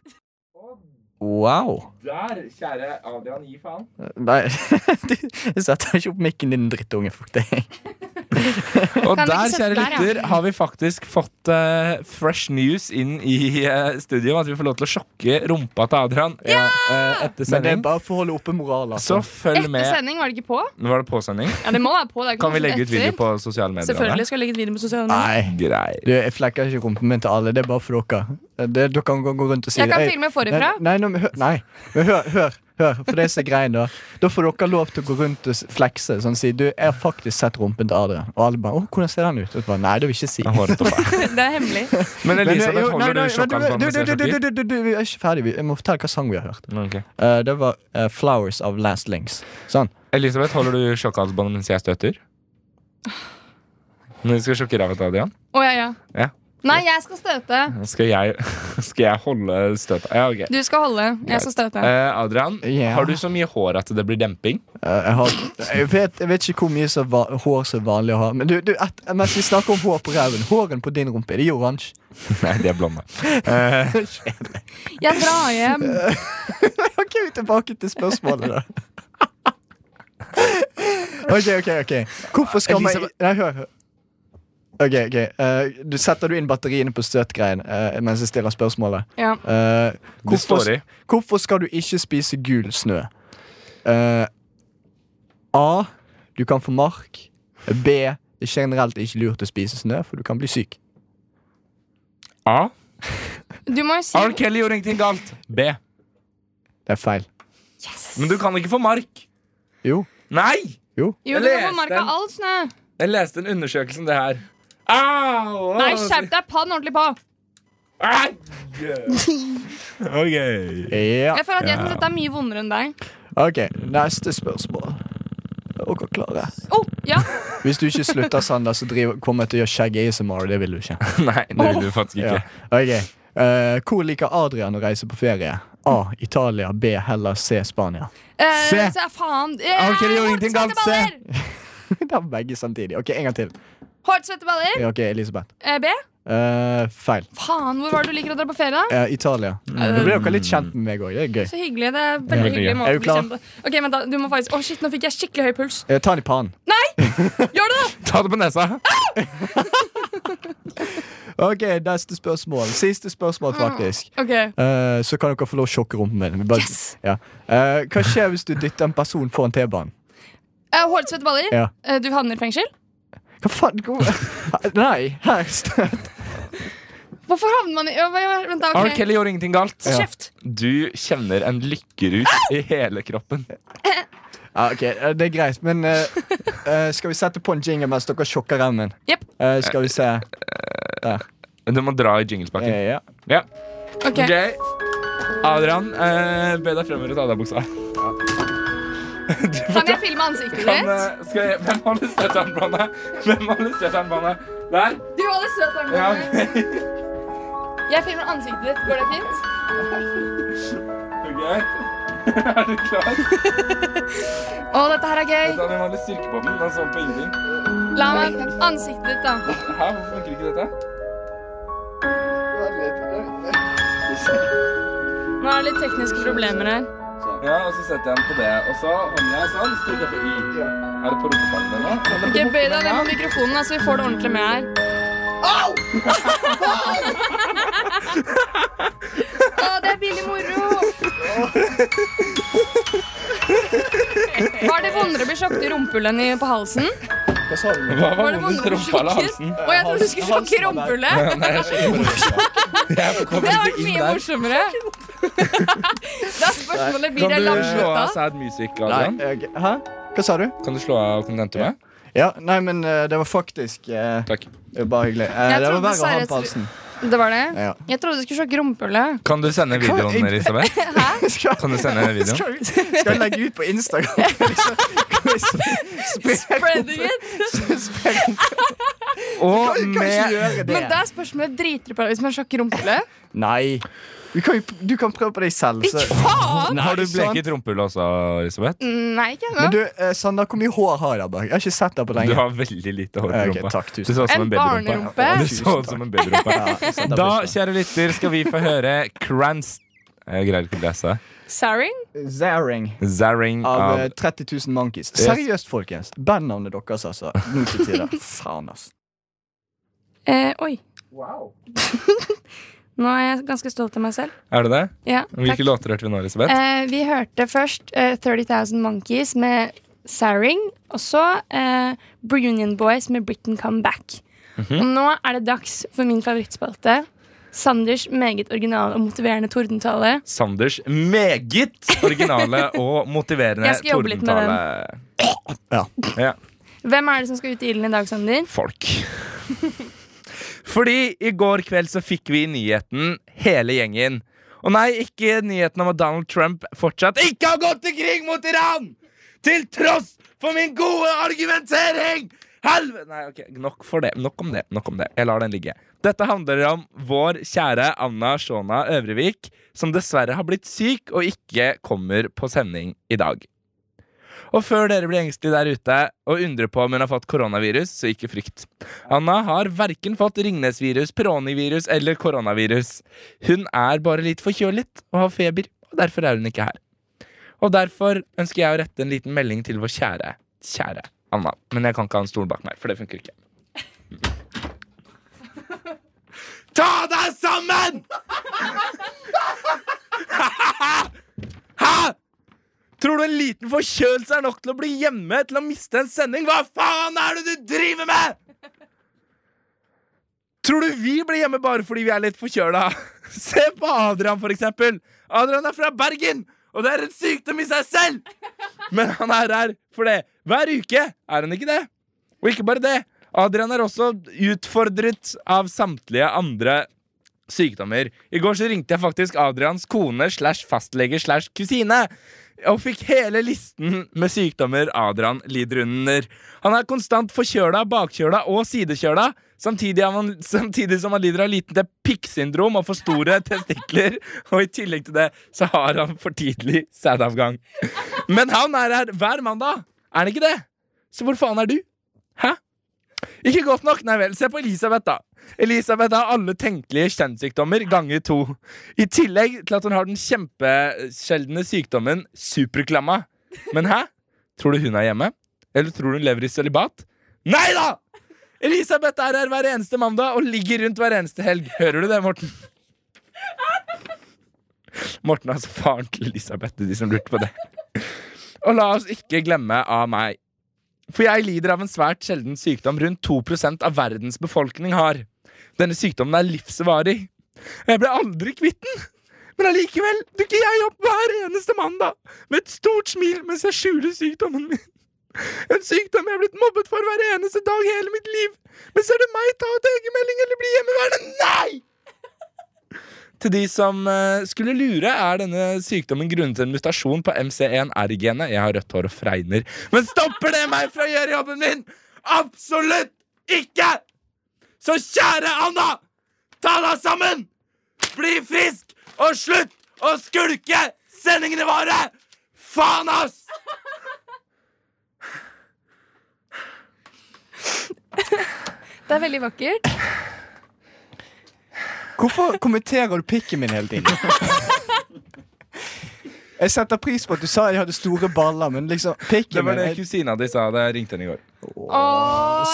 [SPEAKER 4] Wow.
[SPEAKER 7] Der, kjære Adrian, gi faen.
[SPEAKER 4] Nei, du setter ikke opp mikken din, drittunge. Fuck deg.
[SPEAKER 7] Og der,
[SPEAKER 8] Kan vi ikke
[SPEAKER 7] kjære
[SPEAKER 8] sette der, ja?
[SPEAKER 7] lytter, har vi faktisk fått eh, fresh news inn i eh, studio. At vi får lov til å sjokke rumpa til Adrian eh, etter
[SPEAKER 4] Men det er
[SPEAKER 7] sending.
[SPEAKER 4] bare for å holde oppe moralen.
[SPEAKER 7] Så
[SPEAKER 4] Altså.
[SPEAKER 7] følg
[SPEAKER 8] Etter
[SPEAKER 7] med.
[SPEAKER 8] sending, var det ikke på?
[SPEAKER 7] Nå var det påsending.
[SPEAKER 8] Ja, det må være på. Det er ikke
[SPEAKER 7] Kan vi
[SPEAKER 8] noe
[SPEAKER 7] legge ut
[SPEAKER 8] etter.
[SPEAKER 7] video på sosiale medier? av
[SPEAKER 8] Selvfølgelig
[SPEAKER 7] det?
[SPEAKER 8] skal jeg legge ut video på sosiale medier.
[SPEAKER 4] Nei.
[SPEAKER 7] Greit.
[SPEAKER 4] Du, jeg flekker ikke rumpen min til alle. Det er bare for dere. Det, dere kan gå gå rundt og si
[SPEAKER 8] Jeg
[SPEAKER 4] det.
[SPEAKER 8] kan
[SPEAKER 4] Ei,
[SPEAKER 8] filme forifra.
[SPEAKER 4] Nei, nei, nå, men hør, nei. Men hør, hør, hør. For det er så greien, da. Da får dere lov til å gå rundt og s- flekse. Sånn si du, 'Jeg har faktisk sett rumpen til Adrian.' Og alle bare 'Å, hvordan ser den ut?' Og så bare, nei, det vil jeg ikke si.
[SPEAKER 7] Jeg har håret oppe.
[SPEAKER 8] Det er hemmelig.
[SPEAKER 7] Men
[SPEAKER 4] Men, eh,
[SPEAKER 7] Elisabeth,
[SPEAKER 4] jo, nei,
[SPEAKER 7] holder
[SPEAKER 4] nei,
[SPEAKER 7] du sjokka
[SPEAKER 4] men du,
[SPEAKER 7] mens
[SPEAKER 4] du,
[SPEAKER 7] jeg
[SPEAKER 4] du, du,
[SPEAKER 7] sjokker?
[SPEAKER 4] du, du, du, Vi er ikke ferdig. Vi- Jeg må fortelle hva sang vi har hørt.
[SPEAKER 7] Ok.
[SPEAKER 4] Eh, det var eh, 'Flowers of Last Links'. Sånn.
[SPEAKER 7] Elisabeth, holder du sjokkalsbåndet mens jeg støter? Når du skal sjokke ræva til Adrian,
[SPEAKER 8] Å ja, ja.
[SPEAKER 7] Ja.
[SPEAKER 8] Nei, jeg skal støte.
[SPEAKER 7] skal jeg, skal jeg holde støta? Ja, ok.
[SPEAKER 8] Du skal holde. Jeg skal støte.
[SPEAKER 7] Eh, Adrian,
[SPEAKER 4] Ja.
[SPEAKER 7] har du så mye hår at det blir demping?
[SPEAKER 4] Eh, Jeg, har, jeg, vet, jeg vet ikke hvor mye som va hår som er vanlig å ha. Men du, du et, mens vi snakker om hår på ræven, håren på din rumpe, er de oransje?
[SPEAKER 7] Nei, de er blonde.
[SPEAKER 8] Jeg drar hjem.
[SPEAKER 4] ok, vi er tilbake til spørsmålet, da. ok, ok. ok Hvorfor skal man
[SPEAKER 7] Elisabeth-
[SPEAKER 4] Nei, hør. hør. Ok, ok Eh, du Setter du inn batteriene på støtgreien eh, mens jeg stiller spørsmålet?
[SPEAKER 8] Ja.
[SPEAKER 4] Eh,
[SPEAKER 7] Du står i.
[SPEAKER 4] hvorfor skal du ikke spise gul snø? Eh, A. Du kan få mark. B. Det er generelt ikke lurt å spise snø, for du kan bli syk.
[SPEAKER 7] A.
[SPEAKER 8] Du må jo si
[SPEAKER 7] R. Kelly gjorde ingenting galt. B.
[SPEAKER 4] Det er feil.
[SPEAKER 7] Men du kan ikke få mark.
[SPEAKER 4] Jo.
[SPEAKER 7] Nei!
[SPEAKER 8] Jo, du
[SPEAKER 7] leste
[SPEAKER 8] må marka
[SPEAKER 7] den.
[SPEAKER 8] all snø.
[SPEAKER 7] Jeg leste en undersøkelse om det her. Au!
[SPEAKER 8] Nei, skjerp deg. Pa den ordentlig på.
[SPEAKER 7] Ai! OK.
[SPEAKER 4] Ja.
[SPEAKER 8] Jeg føler at jeg syns dette er mye vondere enn deg.
[SPEAKER 4] Ok, neste spørsmål. Er dere klare?
[SPEAKER 8] Oh, ja.
[SPEAKER 4] Hvis du ikke slutter, Sander, så driver, kommer jeg til å gjøre skjegg ASMR. Det vil du ikke.
[SPEAKER 7] Nei, det vil du faktisk
[SPEAKER 4] Ja.
[SPEAKER 7] ikke.
[SPEAKER 4] Ok. Eh, hvor liker Adrian å reise på ferie? A. Italia. B. Hellas. C. Spania.
[SPEAKER 8] Eh,
[SPEAKER 4] Se.
[SPEAKER 8] Se faen. Eh,
[SPEAKER 4] Ok, det gjorde ingenting galt, se.
[SPEAKER 8] Hårsvetteballer!
[SPEAKER 4] Det var begge samtidig. Ok, En gang til.
[SPEAKER 8] Hårsvetteballer.
[SPEAKER 4] Ja, Ok, Elisabeth.
[SPEAKER 8] Eh, B.
[SPEAKER 4] Eh, feil.
[SPEAKER 8] Faen, hvor var det du liker å dra på ferie, da?
[SPEAKER 4] Eh, Italia. Nå ble dere litt kjent med meg òg. Det er gøy.
[SPEAKER 8] Så hyggelig. Det er veldig
[SPEAKER 7] Veldig
[SPEAKER 8] hyggelig
[SPEAKER 7] gøy.
[SPEAKER 8] måte
[SPEAKER 4] Er du
[SPEAKER 8] å
[SPEAKER 4] klar?
[SPEAKER 8] bli kjent på. Ok, vent da, du må faktisk Å, shit, nå fikk jeg skikkelig høy puls.
[SPEAKER 4] Eh, ta den i pannen.
[SPEAKER 8] Gjør det, da!
[SPEAKER 7] Ta det på nesa.
[SPEAKER 4] Ok, neste spørsmål. Siste spørsmål, faktisk.
[SPEAKER 8] Ok,
[SPEAKER 4] Eh, så kan dere få lov å sjokke rumpen min. Vi bare- Ja. Eh, hva skjer hvis du dytter en person foran T-banen?
[SPEAKER 8] eh, Hårsvetteballer.
[SPEAKER 4] Ja.
[SPEAKER 8] Eh, du havner i fengsel.
[SPEAKER 4] Hva faen? Hvor- Nei, her står-
[SPEAKER 8] Hvorfor havner man i ja, hva- Vent, da.
[SPEAKER 7] R.
[SPEAKER 8] ok
[SPEAKER 7] Kelly gjorde ingenting galt.
[SPEAKER 8] Kjeft.
[SPEAKER 7] Du kjenner en lykkerus i hele kroppen.
[SPEAKER 4] ja, ok, eh, Det er greit, men eh, eh, skal vi sette på en jingle mens dere sjokker remmen?
[SPEAKER 8] Jepp.
[SPEAKER 4] Eh, skal vi se Der.
[SPEAKER 7] Du må dra i jinglespakken.
[SPEAKER 4] Eh, ja.
[SPEAKER 7] Ja.
[SPEAKER 8] Ok.
[SPEAKER 7] OK. Adrian, eh, be deg fremover og ta av deg buksa.
[SPEAKER 8] Kan jeg filme ansiktet
[SPEAKER 7] Kan,
[SPEAKER 8] ditt?
[SPEAKER 7] eh, skal jeg, hvem holder støternbåndet? Hvem holder støternbåndet? Der?
[SPEAKER 8] Du holder søt
[SPEAKER 7] Ja.
[SPEAKER 8] armbånd. Jeg filmer ansiktet ditt. Går det fint?
[SPEAKER 7] OK. Er du klar?
[SPEAKER 8] Å, dette her er gøy.
[SPEAKER 7] Dette er den vanlige styrkebånden. Den står på ingenting.
[SPEAKER 8] La meg Ansiktet ditt, da.
[SPEAKER 7] Hæ, hvorfor funker ikke dette?
[SPEAKER 8] Nå er det litt tekniske problemer her.
[SPEAKER 7] Ja, og så setter jeg den på det. Og så hånden jeg sånn, stryker jeg på i. Er det på rumpefallet nå? Er
[SPEAKER 8] Ok,
[SPEAKER 7] det på
[SPEAKER 8] Bøy deg ned
[SPEAKER 7] rumpefallet?
[SPEAKER 8] mot mikrofonen, da, så vi får det ordentlig med her. Au! Å, det er billig moro! Var det vondere å bli sjokket i rumpehullet enn i- på
[SPEAKER 4] Hva
[SPEAKER 8] halsen?
[SPEAKER 4] sa du?
[SPEAKER 7] Hva var
[SPEAKER 8] Var det
[SPEAKER 7] vondest,
[SPEAKER 8] vondere å bli
[SPEAKER 7] rumpa eller
[SPEAKER 8] sjokket?
[SPEAKER 7] halsen?
[SPEAKER 8] Å, jeg trodde du skulle sjokke i rumpehullet!
[SPEAKER 7] Nei, jeg skjønner ikke. Jeg
[SPEAKER 8] Det
[SPEAKER 7] kommer
[SPEAKER 8] hadde
[SPEAKER 7] ikke
[SPEAKER 8] vært
[SPEAKER 7] inn
[SPEAKER 8] mye
[SPEAKER 7] der.
[SPEAKER 8] morsommere. Da er spørsmålet blir
[SPEAKER 7] Kan
[SPEAKER 8] det
[SPEAKER 7] du slå av
[SPEAKER 8] langslutta.
[SPEAKER 7] sad music, Adrian?
[SPEAKER 4] Nei, eh, ok, hæ? Hva sa du?
[SPEAKER 7] Kan du slå av kontentumet?
[SPEAKER 4] Ja, nei, men eh, det var faktisk eh,
[SPEAKER 7] Takk.
[SPEAKER 4] det var Bare hyggelig. Eh, det
[SPEAKER 8] Jeg
[SPEAKER 4] var
[SPEAKER 8] trodde
[SPEAKER 4] verre å ha den på
[SPEAKER 8] seriøst-
[SPEAKER 4] halsen.
[SPEAKER 8] Det var det?
[SPEAKER 4] Ja.
[SPEAKER 8] Jeg trodde du skulle sjokke rumpehullet.
[SPEAKER 7] Kan du sende videoen,
[SPEAKER 4] Hva?
[SPEAKER 7] Elisabeth?
[SPEAKER 4] Skal,
[SPEAKER 7] Kan du sende videoen?
[SPEAKER 4] skal, skal jeg legge ut på Instagram? Liksom,
[SPEAKER 8] Spreading it!
[SPEAKER 7] Og
[SPEAKER 4] kan ikke
[SPEAKER 7] med
[SPEAKER 4] gjøre det.
[SPEAKER 8] Men da er spørsmålet driter du på deg hvis man sjokker rumpehullet?
[SPEAKER 4] Nei. Du kan, jo- du kan prøve på deg selv. Så.
[SPEAKER 8] Faen!
[SPEAKER 4] Nei,
[SPEAKER 7] Har du
[SPEAKER 4] sant.
[SPEAKER 7] bleket rumpehullet også, Elisabeth?
[SPEAKER 8] Nei, ikke
[SPEAKER 4] Men
[SPEAKER 8] ennå.
[SPEAKER 4] du, eh, Sander, hvor mye hår har jeg bak? Jeg har ikke sett deg på
[SPEAKER 7] Du
[SPEAKER 4] lenge.
[SPEAKER 7] har veldig lite hår
[SPEAKER 4] Eh,
[SPEAKER 7] i
[SPEAKER 4] ok,
[SPEAKER 7] rumpa.
[SPEAKER 4] takk,
[SPEAKER 7] Du
[SPEAKER 4] tusen
[SPEAKER 7] så ut som
[SPEAKER 8] En
[SPEAKER 7] en babyrumpe.
[SPEAKER 8] barnerumpe.
[SPEAKER 7] Du så ut som en babyrumpe.
[SPEAKER 4] takk.
[SPEAKER 7] Da, kjære lytter, skal vi få høre Eh, Krans... Jeg greier ikke å lese.
[SPEAKER 8] Saring?
[SPEAKER 4] Zaring
[SPEAKER 7] Zaring
[SPEAKER 4] av
[SPEAKER 7] av
[SPEAKER 4] eh, 30 000 Monkeys. Seriøst, folkens. Bandnavnet deres, altså. Nå til tider. Faen, ass.
[SPEAKER 8] Eh, oi. Nå er jeg ganske stolt av meg selv.
[SPEAKER 7] Er det det?
[SPEAKER 8] Ja,
[SPEAKER 7] Hvilke
[SPEAKER 8] takk.
[SPEAKER 7] låter hørte vi nå, Elisabeth?
[SPEAKER 8] Eh, vi hørte først eh, 30,000 Monkeys med Saring, og så eh, Brunion Boys med Britain Come Back.
[SPEAKER 4] Mhm.
[SPEAKER 8] Og nå er det dags for min favorittspalte. Sanders meget originale og motiverende tordentale.
[SPEAKER 7] Sanders meget originale og motiverende
[SPEAKER 8] Jeg skal jobbe litt med
[SPEAKER 7] tordentale.
[SPEAKER 4] Ja.
[SPEAKER 7] ja.
[SPEAKER 8] Hvem er det som skal ut i ilden i dag, Sander?
[SPEAKER 7] Folk. Fordi i går kveld så fikk vi nyheten, hele gjengen. Og nei, ikke nyheten om at Donald Trump fortsatt ikke har gått til krig mot Iran! Til tross for min gode argumentering! Helvete! Nei, ok, nok for det. Nok om det. nok om det. Jeg lar den ligge. Dette handler om vår kjære Anna Shona Øvrevik, som dessverre har blitt syk og ikke kommer på sending i dag. Og før dere blir engstelige der ute og undrer på om hun har fått koronavirus, så ikke frykt. Anna har verken fått ringnesvirus, peronivirus eller koronavirus. Hun er bare litt forkjølet og har feber, og derfor er hun ikke her. Og derfor ønsker jeg å rette en liten melding til vår kjære, kjære Anna. Men jeg kan ikke ha en stol bak meg, for det funker ikke. Ta deg sammen! Hæ? Tror Tror du en liten forkjølelse er nok til å bli hjemme til å miste en sending? Hva faen er det du driver med?! Tror du vi blir hjemme bare fordi vi er litt forkjøla? Se på Adrian, for eksempel. Adrian er fra Bergen, og det er en sykdom i seg selv! Men han er her for det. Hver uke er han ikke det. Og ikke bare det. Adrian er også utfordret av samtlige andre sykdommer. I går så ringte jeg faktisk Adrians kone slash fastlege slash kusine. Og fikk hele listen med sykdommer Adrian lider under. Han er konstant forkjøla, bakkjøla og sidekjøla. Samtidig, har han, samtidig som han lider av liten til pikksyndrom og for store testikler. Og i tillegg til det så har han for tidlig sædavgang. Men han er her hver mandag, er han ikke det? Så hvor faen er du? Hæ? Ikke godt nok, nei vel. Se på Elisabeth, da. Elisabeth har alle tenkelige kjønnssykdommer ganger to. I tillegg til at hun har den kjempesjeldne sykdommen superklamma. Men hæ? Tror du hun er hjemme? Eller tror du hun lever i sølibat? Nei da! Elisabeth er her hver eneste mandag og ligger rundt hver eneste helg. Hører du det, Morten? Morten er altså faren til Elisabeth, til de som lurte på det. Og la oss ikke glemme av meg. For jeg lider av en svært sjelden sykdom rundt 2 av verdens befolkning har. Denne sykdommen er livsvarig. Og Jeg ble aldri kvitt den. Men allikevel dukker jeg opp hver eneste mandag med et stort smil mens jeg skjuler sykdommen min. En sykdom jeg er blitt mobbet for hver eneste dag hele mitt liv. Men ser du meg ta ut egenmelding eller bli hjemmeværende? Nei! Til de som eh, skulle lure, er denne sykdommen grunnet en mutasjon på MC1R-genet. Jeg har rødt hår og fregner. Men stopper det meg fra å gjøre jobben min? Absolutt ikke! Så kjære Anna, ta deg sammen! Bli frisk, og slutt å skulke sendingene våre! Faen, ass!
[SPEAKER 8] Det er veldig vakkert.
[SPEAKER 4] Hvorfor kommenterer du pikken min hele tiden? Jeg setter pris på at du sa jeg hadde store baller, men liksom
[SPEAKER 7] Det
[SPEAKER 4] pikken
[SPEAKER 7] var
[SPEAKER 4] min
[SPEAKER 7] det
[SPEAKER 4] er-
[SPEAKER 7] kusina di sa da jeg ringte henne i går.
[SPEAKER 8] Åh,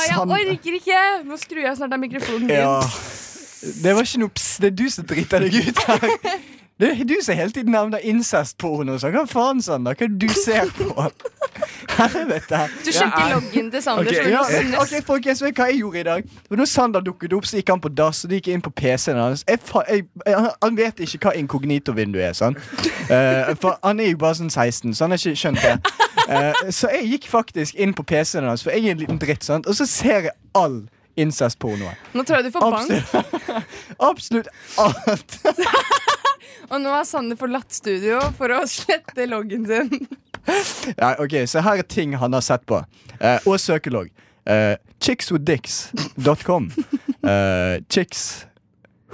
[SPEAKER 8] jeg
[SPEAKER 4] sant.
[SPEAKER 8] orker ikke! Nå skrur jeg snart av mikrofonen min.
[SPEAKER 4] ja. Det var ikke noe pss, det er du som driter deg ut her. Det er du som hele tiden nevner incestporno. Så hva faen, Sander? Hva er det du ser på? Helvete.
[SPEAKER 8] Du skjønte
[SPEAKER 7] Jeg er-
[SPEAKER 8] loggen til Sander.
[SPEAKER 7] Ok,
[SPEAKER 8] så
[SPEAKER 4] Ja,
[SPEAKER 8] nå synes-
[SPEAKER 4] ok, folkens, vet du hva jeg gjorde i dag? Det var Når Sander dukket opp, så gikk han på dass, og det gikk jeg inn på PC-en hans. Jeg, fa- jeg, jeg, han vet ikke hva inkognito-vinduet er, sånn. Eh, for han er jo bare sånn 16, så han har ikke skjønt det. Eh, så jeg gikk faktisk inn på PC-en hans, for jeg er en liten dritt, sant? og så ser jeg all incestpornoen.
[SPEAKER 8] Nå tror jeg du får bank.
[SPEAKER 4] Absolutt, absolutt alt.
[SPEAKER 8] Og nå har Sander forlatt studio for å slette loggen sin.
[SPEAKER 4] Ja, ok, Så her er ting han har sett på. Eh, og søkelogg. Eh, chickswithdicks.com. Eh, chicks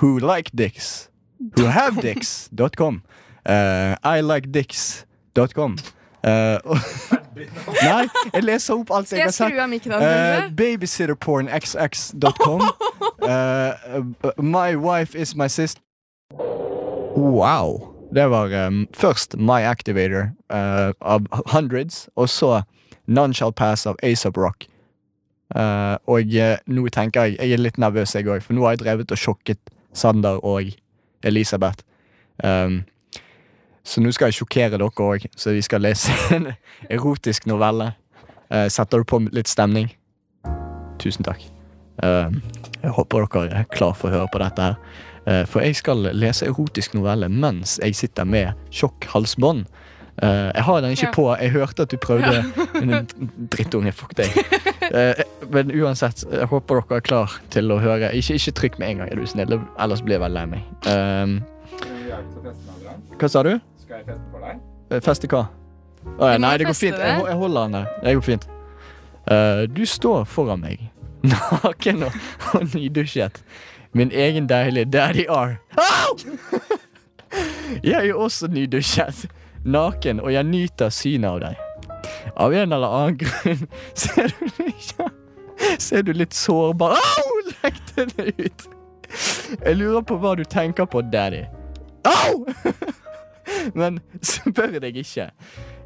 [SPEAKER 4] who like dicks. Who have dicks.com. Eh, I like dicks.com. Eh, og- nei, jeg leser opp alt
[SPEAKER 8] Skal
[SPEAKER 4] jeg har
[SPEAKER 8] jeg
[SPEAKER 4] sett.
[SPEAKER 8] skru av mikrofonen?
[SPEAKER 4] Eh,
[SPEAKER 8] Sander?
[SPEAKER 4] babysitterpornxx.com. Eh, eh, my wife is my sister Wow. Det var em, først My Activator eh, av Hundreds, og så None Shall Pass av Asap Rock. Eh, og eh, nå tenker jeg Jeg er litt nervøs, jeg òg, for nå har jeg drevet og sjokket Sander og Elisabeth. Em, så nå skal jeg sjokkere dere òg, så vi skal lese en erotisk novelle. Eh, setter du på litt stemning? Tusen takk. Eh, jeg håper dere er klar for å høre på dette her. Eh, for jeg skal lese erotisk novelle mens jeg sitter med tjokk halsbånd. Eh, jeg har den ikke
[SPEAKER 8] Ja.
[SPEAKER 4] på. Jeg hørte at du prøvde. Men drittunge, fuck deg. Eh, men uansett, jeg håper dere er klar til å høre. Ikke, ikke trykk med en gang, er du snill. Ellers blir jeg veldig lei meg. Eh, hva sa du?
[SPEAKER 7] Skal jeg feste for deg?
[SPEAKER 4] Eh, Feste hva? Å ja,
[SPEAKER 8] Du må
[SPEAKER 4] nei, det går
[SPEAKER 8] feste
[SPEAKER 4] fint. Jeg,
[SPEAKER 8] det.
[SPEAKER 4] ho- jeg holder den der. Det går fint. Eh, du står foran meg, naken og, og nydusjet. Min egen deilige Daddy R. Au! jeg er jo også nydusjet, naken, og jeg nyter synet av deg. Av en eller annen grunn ser du ikke Ser du litt sårbar Au! Lekte det ut. Jeg lurer på hva du tenker på, daddy. Au! Men spør deg ikke.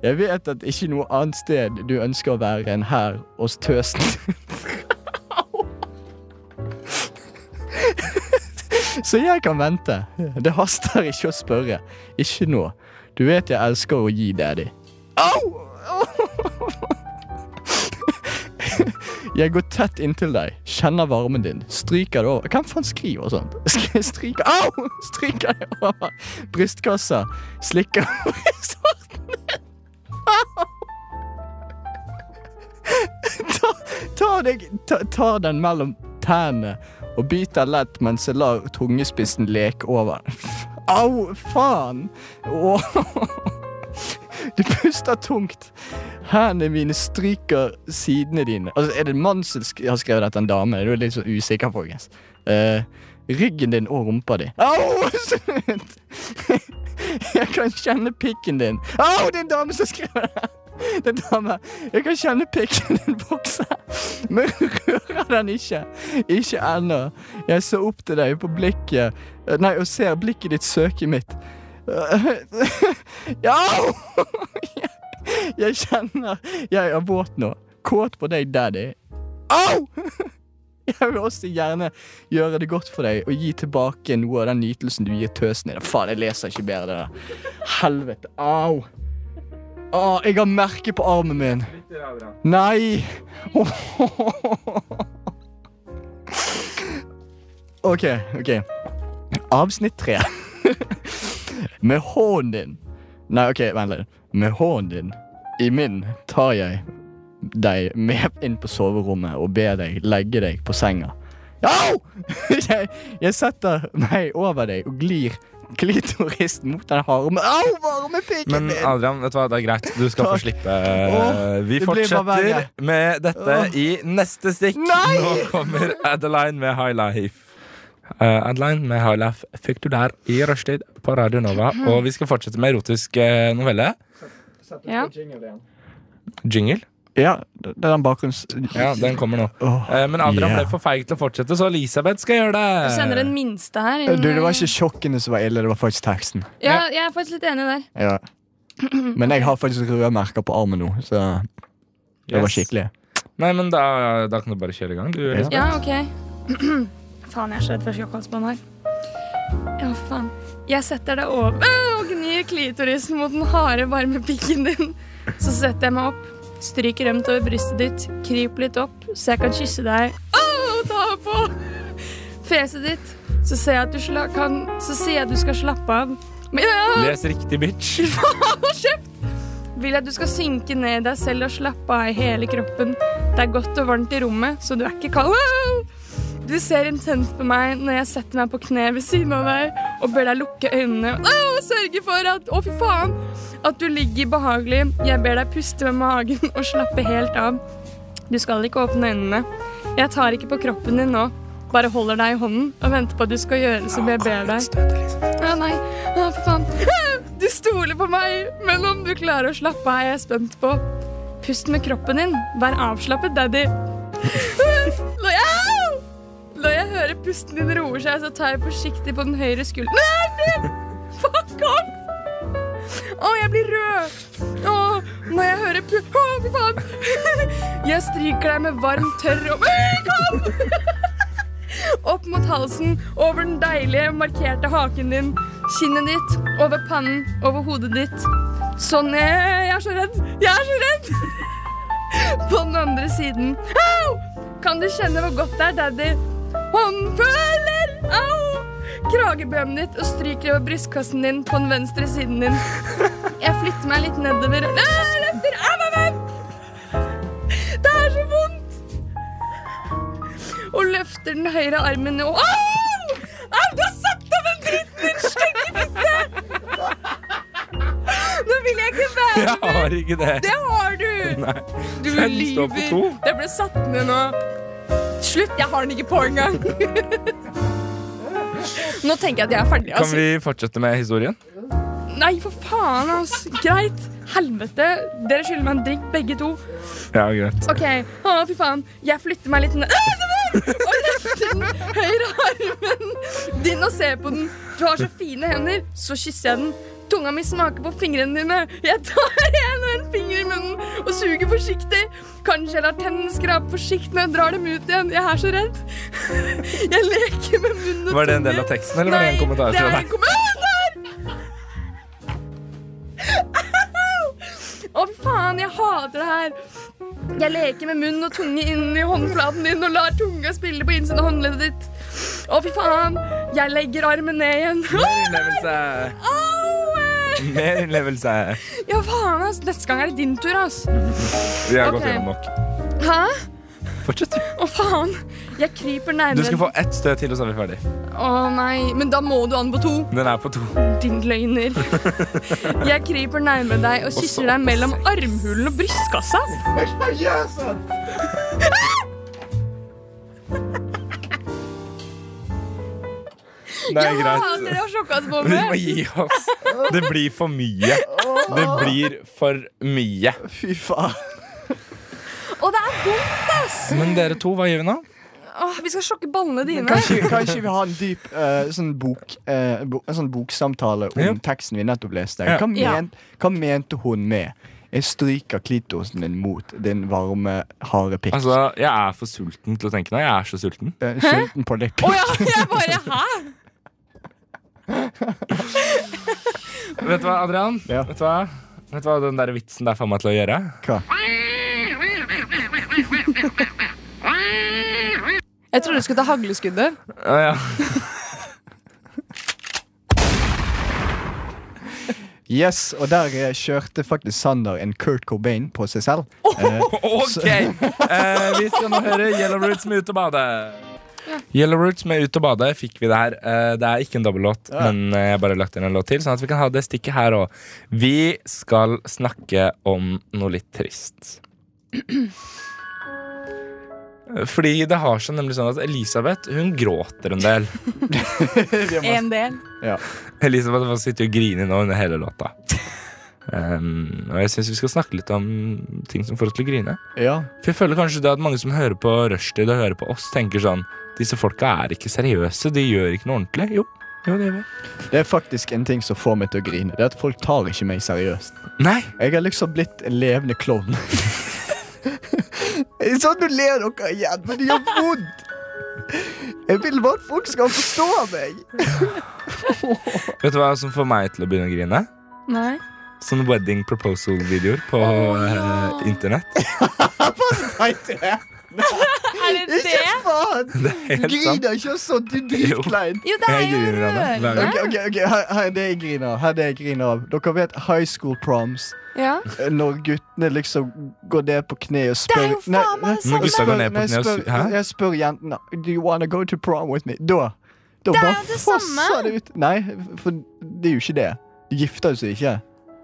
[SPEAKER 4] Jeg vet at ikke noe annet sted du ønsker å være enn her hos tøsen. Au. Så jeg kan vente. Det haster ikke å spørre. Ikke nå. Du vet jeg elsker å gi daddy. Au! Jeg går tett inntil deg, kjenner varmen din, stryker det over Hvem faen skriver sånt? Sk- Stryker Au! Stryker det over brystkassa, slikker på brystvorten din. Ta, ta, deg, ta, ta den mellom tærne og biter lett mens jeg lar tungespissen leke over. Au, faen! Åh. Du puster tungt. Hendene mine stryker sidene dine. Altså, Er det en mann som sk har skrevet dette, en dame? Du er jeg litt så usikker, folkens. Eh, ryggen din og rumpa di. Au! Slutt! Jeg kan kjenne pikken din. Au, det er en dame som skriver det! Det er en dame. Jeg kan kjenne pikken din vokse, men rører den ikke. Ikke ennå. Jeg ser opp til deg på blikket eh, Nei, og ser blikket ditt søke mitt. Ja! Jeg kjenner Jeg er våt nå. Kåt på deg, daddy. Au! Jeg vil også gjerne gjøre det godt for deg og gi tilbake noe av den nytelsen du gir tøsen din. Faen, jeg leser ikke bedre det der. Helvete. Au. Å, jeg har merke på armen min. Nei! OK, OK. Avsnitt tre. Med hånden din Nei, ok, vent litt. Med hånden din i min tar jeg deg med inn på soverommet og ber deg legge deg på senga. Au! Jeg, jeg setter meg over deg og glir klitoris mot den harme Au, varme pikken
[SPEAKER 7] Men ah.
[SPEAKER 4] min!
[SPEAKER 7] Adrian, vet du hva, det er greit. Du skal få
[SPEAKER 4] Takk.
[SPEAKER 7] slippe. Vi
[SPEAKER 4] Åh, det blir bare
[SPEAKER 7] fortsetter
[SPEAKER 4] verre.
[SPEAKER 7] med dette
[SPEAKER 4] Åh.
[SPEAKER 7] i neste stikk.
[SPEAKER 4] Nei!
[SPEAKER 7] Nå kommer Adeline med High Life. Eh, Adeline med High Life fikk du der i rushtid på Radio Nova. Og vi skal fortsette med erotisk eh, novelle.
[SPEAKER 4] Eh,
[SPEAKER 8] Ja.
[SPEAKER 7] Jingle.
[SPEAKER 4] Ja, det er den bakgrunns...
[SPEAKER 7] Ja, den kommer nå.
[SPEAKER 4] Åh,
[SPEAKER 7] Eh, Men Adrian
[SPEAKER 4] yeah.
[SPEAKER 7] ble for feig til å fortsette, så Elisabeth skal gjøre
[SPEAKER 8] Du sender den
[SPEAKER 7] det.
[SPEAKER 8] minste her.
[SPEAKER 4] Eh, Du, det var ikke sjokkene som var ille, det var faktisk teksten.
[SPEAKER 8] Ja, jeg er faktisk litt enig der.
[SPEAKER 4] Ja. Men jeg har faktisk røde merker på armen nå, så det var
[SPEAKER 7] Yes.
[SPEAKER 4] skikkelig.
[SPEAKER 7] Nei, men da, da kan du bare kjøre i gang. Du, Elisabeth.
[SPEAKER 8] Ja, ok. faen, jeg er så redd for sjokkhalsbånd her. Ja, faen. Jeg setter deg over og gnir klitorisen mot den harde, varme pikken din. Så setter jeg meg opp, stryker rømt over brystet ditt, kryper litt opp, så jeg kan kysse deg Åh, ta på fjeset ditt. Så ser jeg at du sla kan Så sier jeg at du skal slappe av. Men ja,
[SPEAKER 7] Les riktig, bitch.
[SPEAKER 8] vil jeg at du skal synke ned i deg selv og slappe av i hele kroppen. Det er godt og varmt i rommet, så du er ikke kald. Au! Du ser intenst på meg når jeg setter meg på kne ved siden av deg og ber deg lukke øynene Au! og sørge for at Å, fy faen! At du ligger behagelig. Jeg ber deg puste med magen og slappe helt av. Du skal ikke åpne øynene. Jeg tar ikke på kroppen din nå. Bare holder deg i hånden og venter på at du skal gjøre som jeg ber deg. Å nei, å for faen. Du stoler på meg, men om du klarer å slappe av, er jeg spent på. Pust med kroppen din. Vær avslappet, daddy. Når jeg, Au! Når jeg hører pusten din roer seg, så tar jeg forsiktig på den høyre skulderen. Nei, du! Fuck off! Å, jeg blir rød. Å, når jeg hører pu... Å, fy faen. Jeg stryker deg med varm, tørr og Øh, Kom! Opp mot halsen, over den deilige, markerte haken din. Kinnet ditt, over pannen, over hodet ditt. Sånn Jeg jeg er så redd! Jeg er så redd! På den andre siden. Au! Kan du kjenne hvor godt det er, daddy? Hånden føler Au! Kragebømmen ditt og stryker over brystkassen din på den venstre siden din. Jeg flytter meg litt nedover og Øh, løfter Au, au, au! Det er så vondt! og løfter den høyre armen og Au! Au, du har satt av den dritten din, stygge fitte! Nå vil jeg ikke være
[SPEAKER 7] Jeg har ikke det.
[SPEAKER 8] Det har du!
[SPEAKER 7] Nei.
[SPEAKER 8] Du
[SPEAKER 7] Den står på
[SPEAKER 8] lyver.
[SPEAKER 7] to.
[SPEAKER 8] Det ble satt ned nå. Slutt, jeg har den ikke på engang. Nå tenker jeg at jeg er ferdig.
[SPEAKER 7] Kan
[SPEAKER 8] Altså.
[SPEAKER 7] vi fortsette med historien?
[SPEAKER 8] Nei, for faen, altså. Greit. Helvete. Dere skylder meg en drink, begge to.
[SPEAKER 7] Ja, greit.
[SPEAKER 8] OK. Å, fy faen. Jeg flytter meg litt ned Øh, det var- Og løfter den høyre armen din og ser på den. Du har så fine hender. Så kysser jeg den. Tunga mi smaker på fingrene dine. Jeg tar en og en finger i munnen og suger forsiktig. Kanskje jeg lar tennene skrape forsiktig når jeg drar dem ut igjen. Jeg er så redd. Jeg leker med munnen og
[SPEAKER 7] Var det en del av teksten, eller var det en kommentar
[SPEAKER 8] Nei,
[SPEAKER 7] fra
[SPEAKER 8] det er
[SPEAKER 7] deg?
[SPEAKER 8] en kommentar! Å, fy faen, jeg hater det her. Jeg leker med munn og tunge inni håndflaten din og lar tunga spille på innsiden av håndleddet ditt. Å, fy faen. Jeg legger armen ned igjen.
[SPEAKER 7] Mer innlevelse.
[SPEAKER 8] Au!
[SPEAKER 7] Mer innlevelse.
[SPEAKER 8] Ja, faen, ass. Neste gang er det din tur, ass.
[SPEAKER 7] Vi har gått
[SPEAKER 8] Ok.
[SPEAKER 7] gjennom nok.
[SPEAKER 8] Hæ?
[SPEAKER 7] Fortsett.
[SPEAKER 8] Å, faen. Jeg kryper
[SPEAKER 7] Du
[SPEAKER 8] nærmere.
[SPEAKER 7] skal få ett støt til, og så er vi ferdig.
[SPEAKER 8] Å, nei. Men da må du an på to.
[SPEAKER 7] Den er på to.
[SPEAKER 8] Din løgner. Jeg kryper nærmere deg og kysser deg mellom armhulen og brystkassa.
[SPEAKER 7] Det er
[SPEAKER 8] Jeg hater
[SPEAKER 7] greit.
[SPEAKER 8] det å sjokke oss på
[SPEAKER 7] Vi må
[SPEAKER 8] med.
[SPEAKER 7] gi oss. Det blir for mye. Det blir for mye.
[SPEAKER 4] Fy faen.
[SPEAKER 8] Og det er vondt, ass.
[SPEAKER 7] Men dere to, hva gjør vi nå?
[SPEAKER 8] Åh, vi skal sjokke ballene dine.
[SPEAKER 4] Kanskje, kanskje vi har en dyp eh, sånn bok, eh, bo, en sånn boksamtale om
[SPEAKER 7] Ja.
[SPEAKER 4] teksten vi nettopp leste.
[SPEAKER 7] Ja.
[SPEAKER 4] Hva, men,
[SPEAKER 5] Ja.
[SPEAKER 4] hva mente hun med 'jeg stryker klitorisen din mot din varme, harde pikk'?
[SPEAKER 7] Altså, Jeg er for sulten til å tenke nå. Jeg er så sulten.
[SPEAKER 4] Eh, Sulten på dick
[SPEAKER 8] Å
[SPEAKER 4] pic.
[SPEAKER 8] ja, jeg bare Hæ?
[SPEAKER 7] Vet du hva, Adrian?
[SPEAKER 4] Ja.
[SPEAKER 7] Vet du hva? Vet du hva den der vitsen der får meg til å gjøre?
[SPEAKER 4] Hva?
[SPEAKER 8] Jeg trodde du skulle ta hagleskuddet.
[SPEAKER 7] Å, ja.
[SPEAKER 4] Yes, og der eh, kjørte faktisk Sander en Kurt Cobain på seg selv. Eh,
[SPEAKER 7] Ok! Eh, vi skal nå høre Yellow Roots med Ut og bade. Yellow Roots med Ut og bade fikk vi det her. Eh, det er ikke en dobbellåt,
[SPEAKER 4] Ja.
[SPEAKER 7] men eh, jeg har bare lagt inn en låt til, sånn at vi kan ha det stikket her òg. Vi skal snakke om noe litt trist. Fordi det har seg nemlig sånn at Elisabeth hun gråter en del.
[SPEAKER 5] En del.
[SPEAKER 7] Elisabeth bare sitter og griner nå under hele låta. Um, og jeg syns vi skal snakke litt om ting som får oss til å grine.
[SPEAKER 4] ja.
[SPEAKER 7] For jeg føler kanskje det at mange som hører på Rushtid og hører på oss, tenker sånn Disse folka er ikke seriøse, de gjør ikke noe ordentlig. Jo, jo det gjør vi.
[SPEAKER 4] Det er faktisk en ting som får meg til å grine. Det er at folk tar ikke meg seriøst.
[SPEAKER 7] Nei!
[SPEAKER 4] Jeg har liksom blitt en levende klovn. sånn du ler dere igjen, men det gjør vondt. Jeg vil bare at folk skal forstå meg.
[SPEAKER 7] Vet du hva som får meg til å begynne å grine?
[SPEAKER 8] Nei.
[SPEAKER 7] Sånne wedding proposal-videoer på eh, internett.
[SPEAKER 4] Nei, det er
[SPEAKER 5] Er det det?
[SPEAKER 4] ikke faen.
[SPEAKER 7] Det er helt sant.
[SPEAKER 4] Griner ikke sånn, du er dritklein.
[SPEAKER 5] Jo, det er
[SPEAKER 7] Jeg
[SPEAKER 5] jo
[SPEAKER 7] griner av det. Hver gang.
[SPEAKER 4] Ok, ok, ok, her, her er det jeg griner av. Her er det jeg griner av. Dere vet high school proms.
[SPEAKER 8] Ja.
[SPEAKER 4] eh, Når guttene liksom går ned på kne og spør
[SPEAKER 5] Det er jo
[SPEAKER 4] Nei,
[SPEAKER 5] faen meg
[SPEAKER 4] nei,
[SPEAKER 5] det
[SPEAKER 7] Når
[SPEAKER 5] samme.
[SPEAKER 7] gutta går ned på
[SPEAKER 4] nei,
[SPEAKER 7] kne og
[SPEAKER 4] spør,
[SPEAKER 7] su- Hæ?
[SPEAKER 4] jeg spør jentene Do you wanna go to prom with me? Da, da
[SPEAKER 5] er
[SPEAKER 4] bare
[SPEAKER 5] jo det
[SPEAKER 4] fosser
[SPEAKER 5] samme.
[SPEAKER 4] det ut. Nei, for det er jo ikke det. De gifter seg ikke.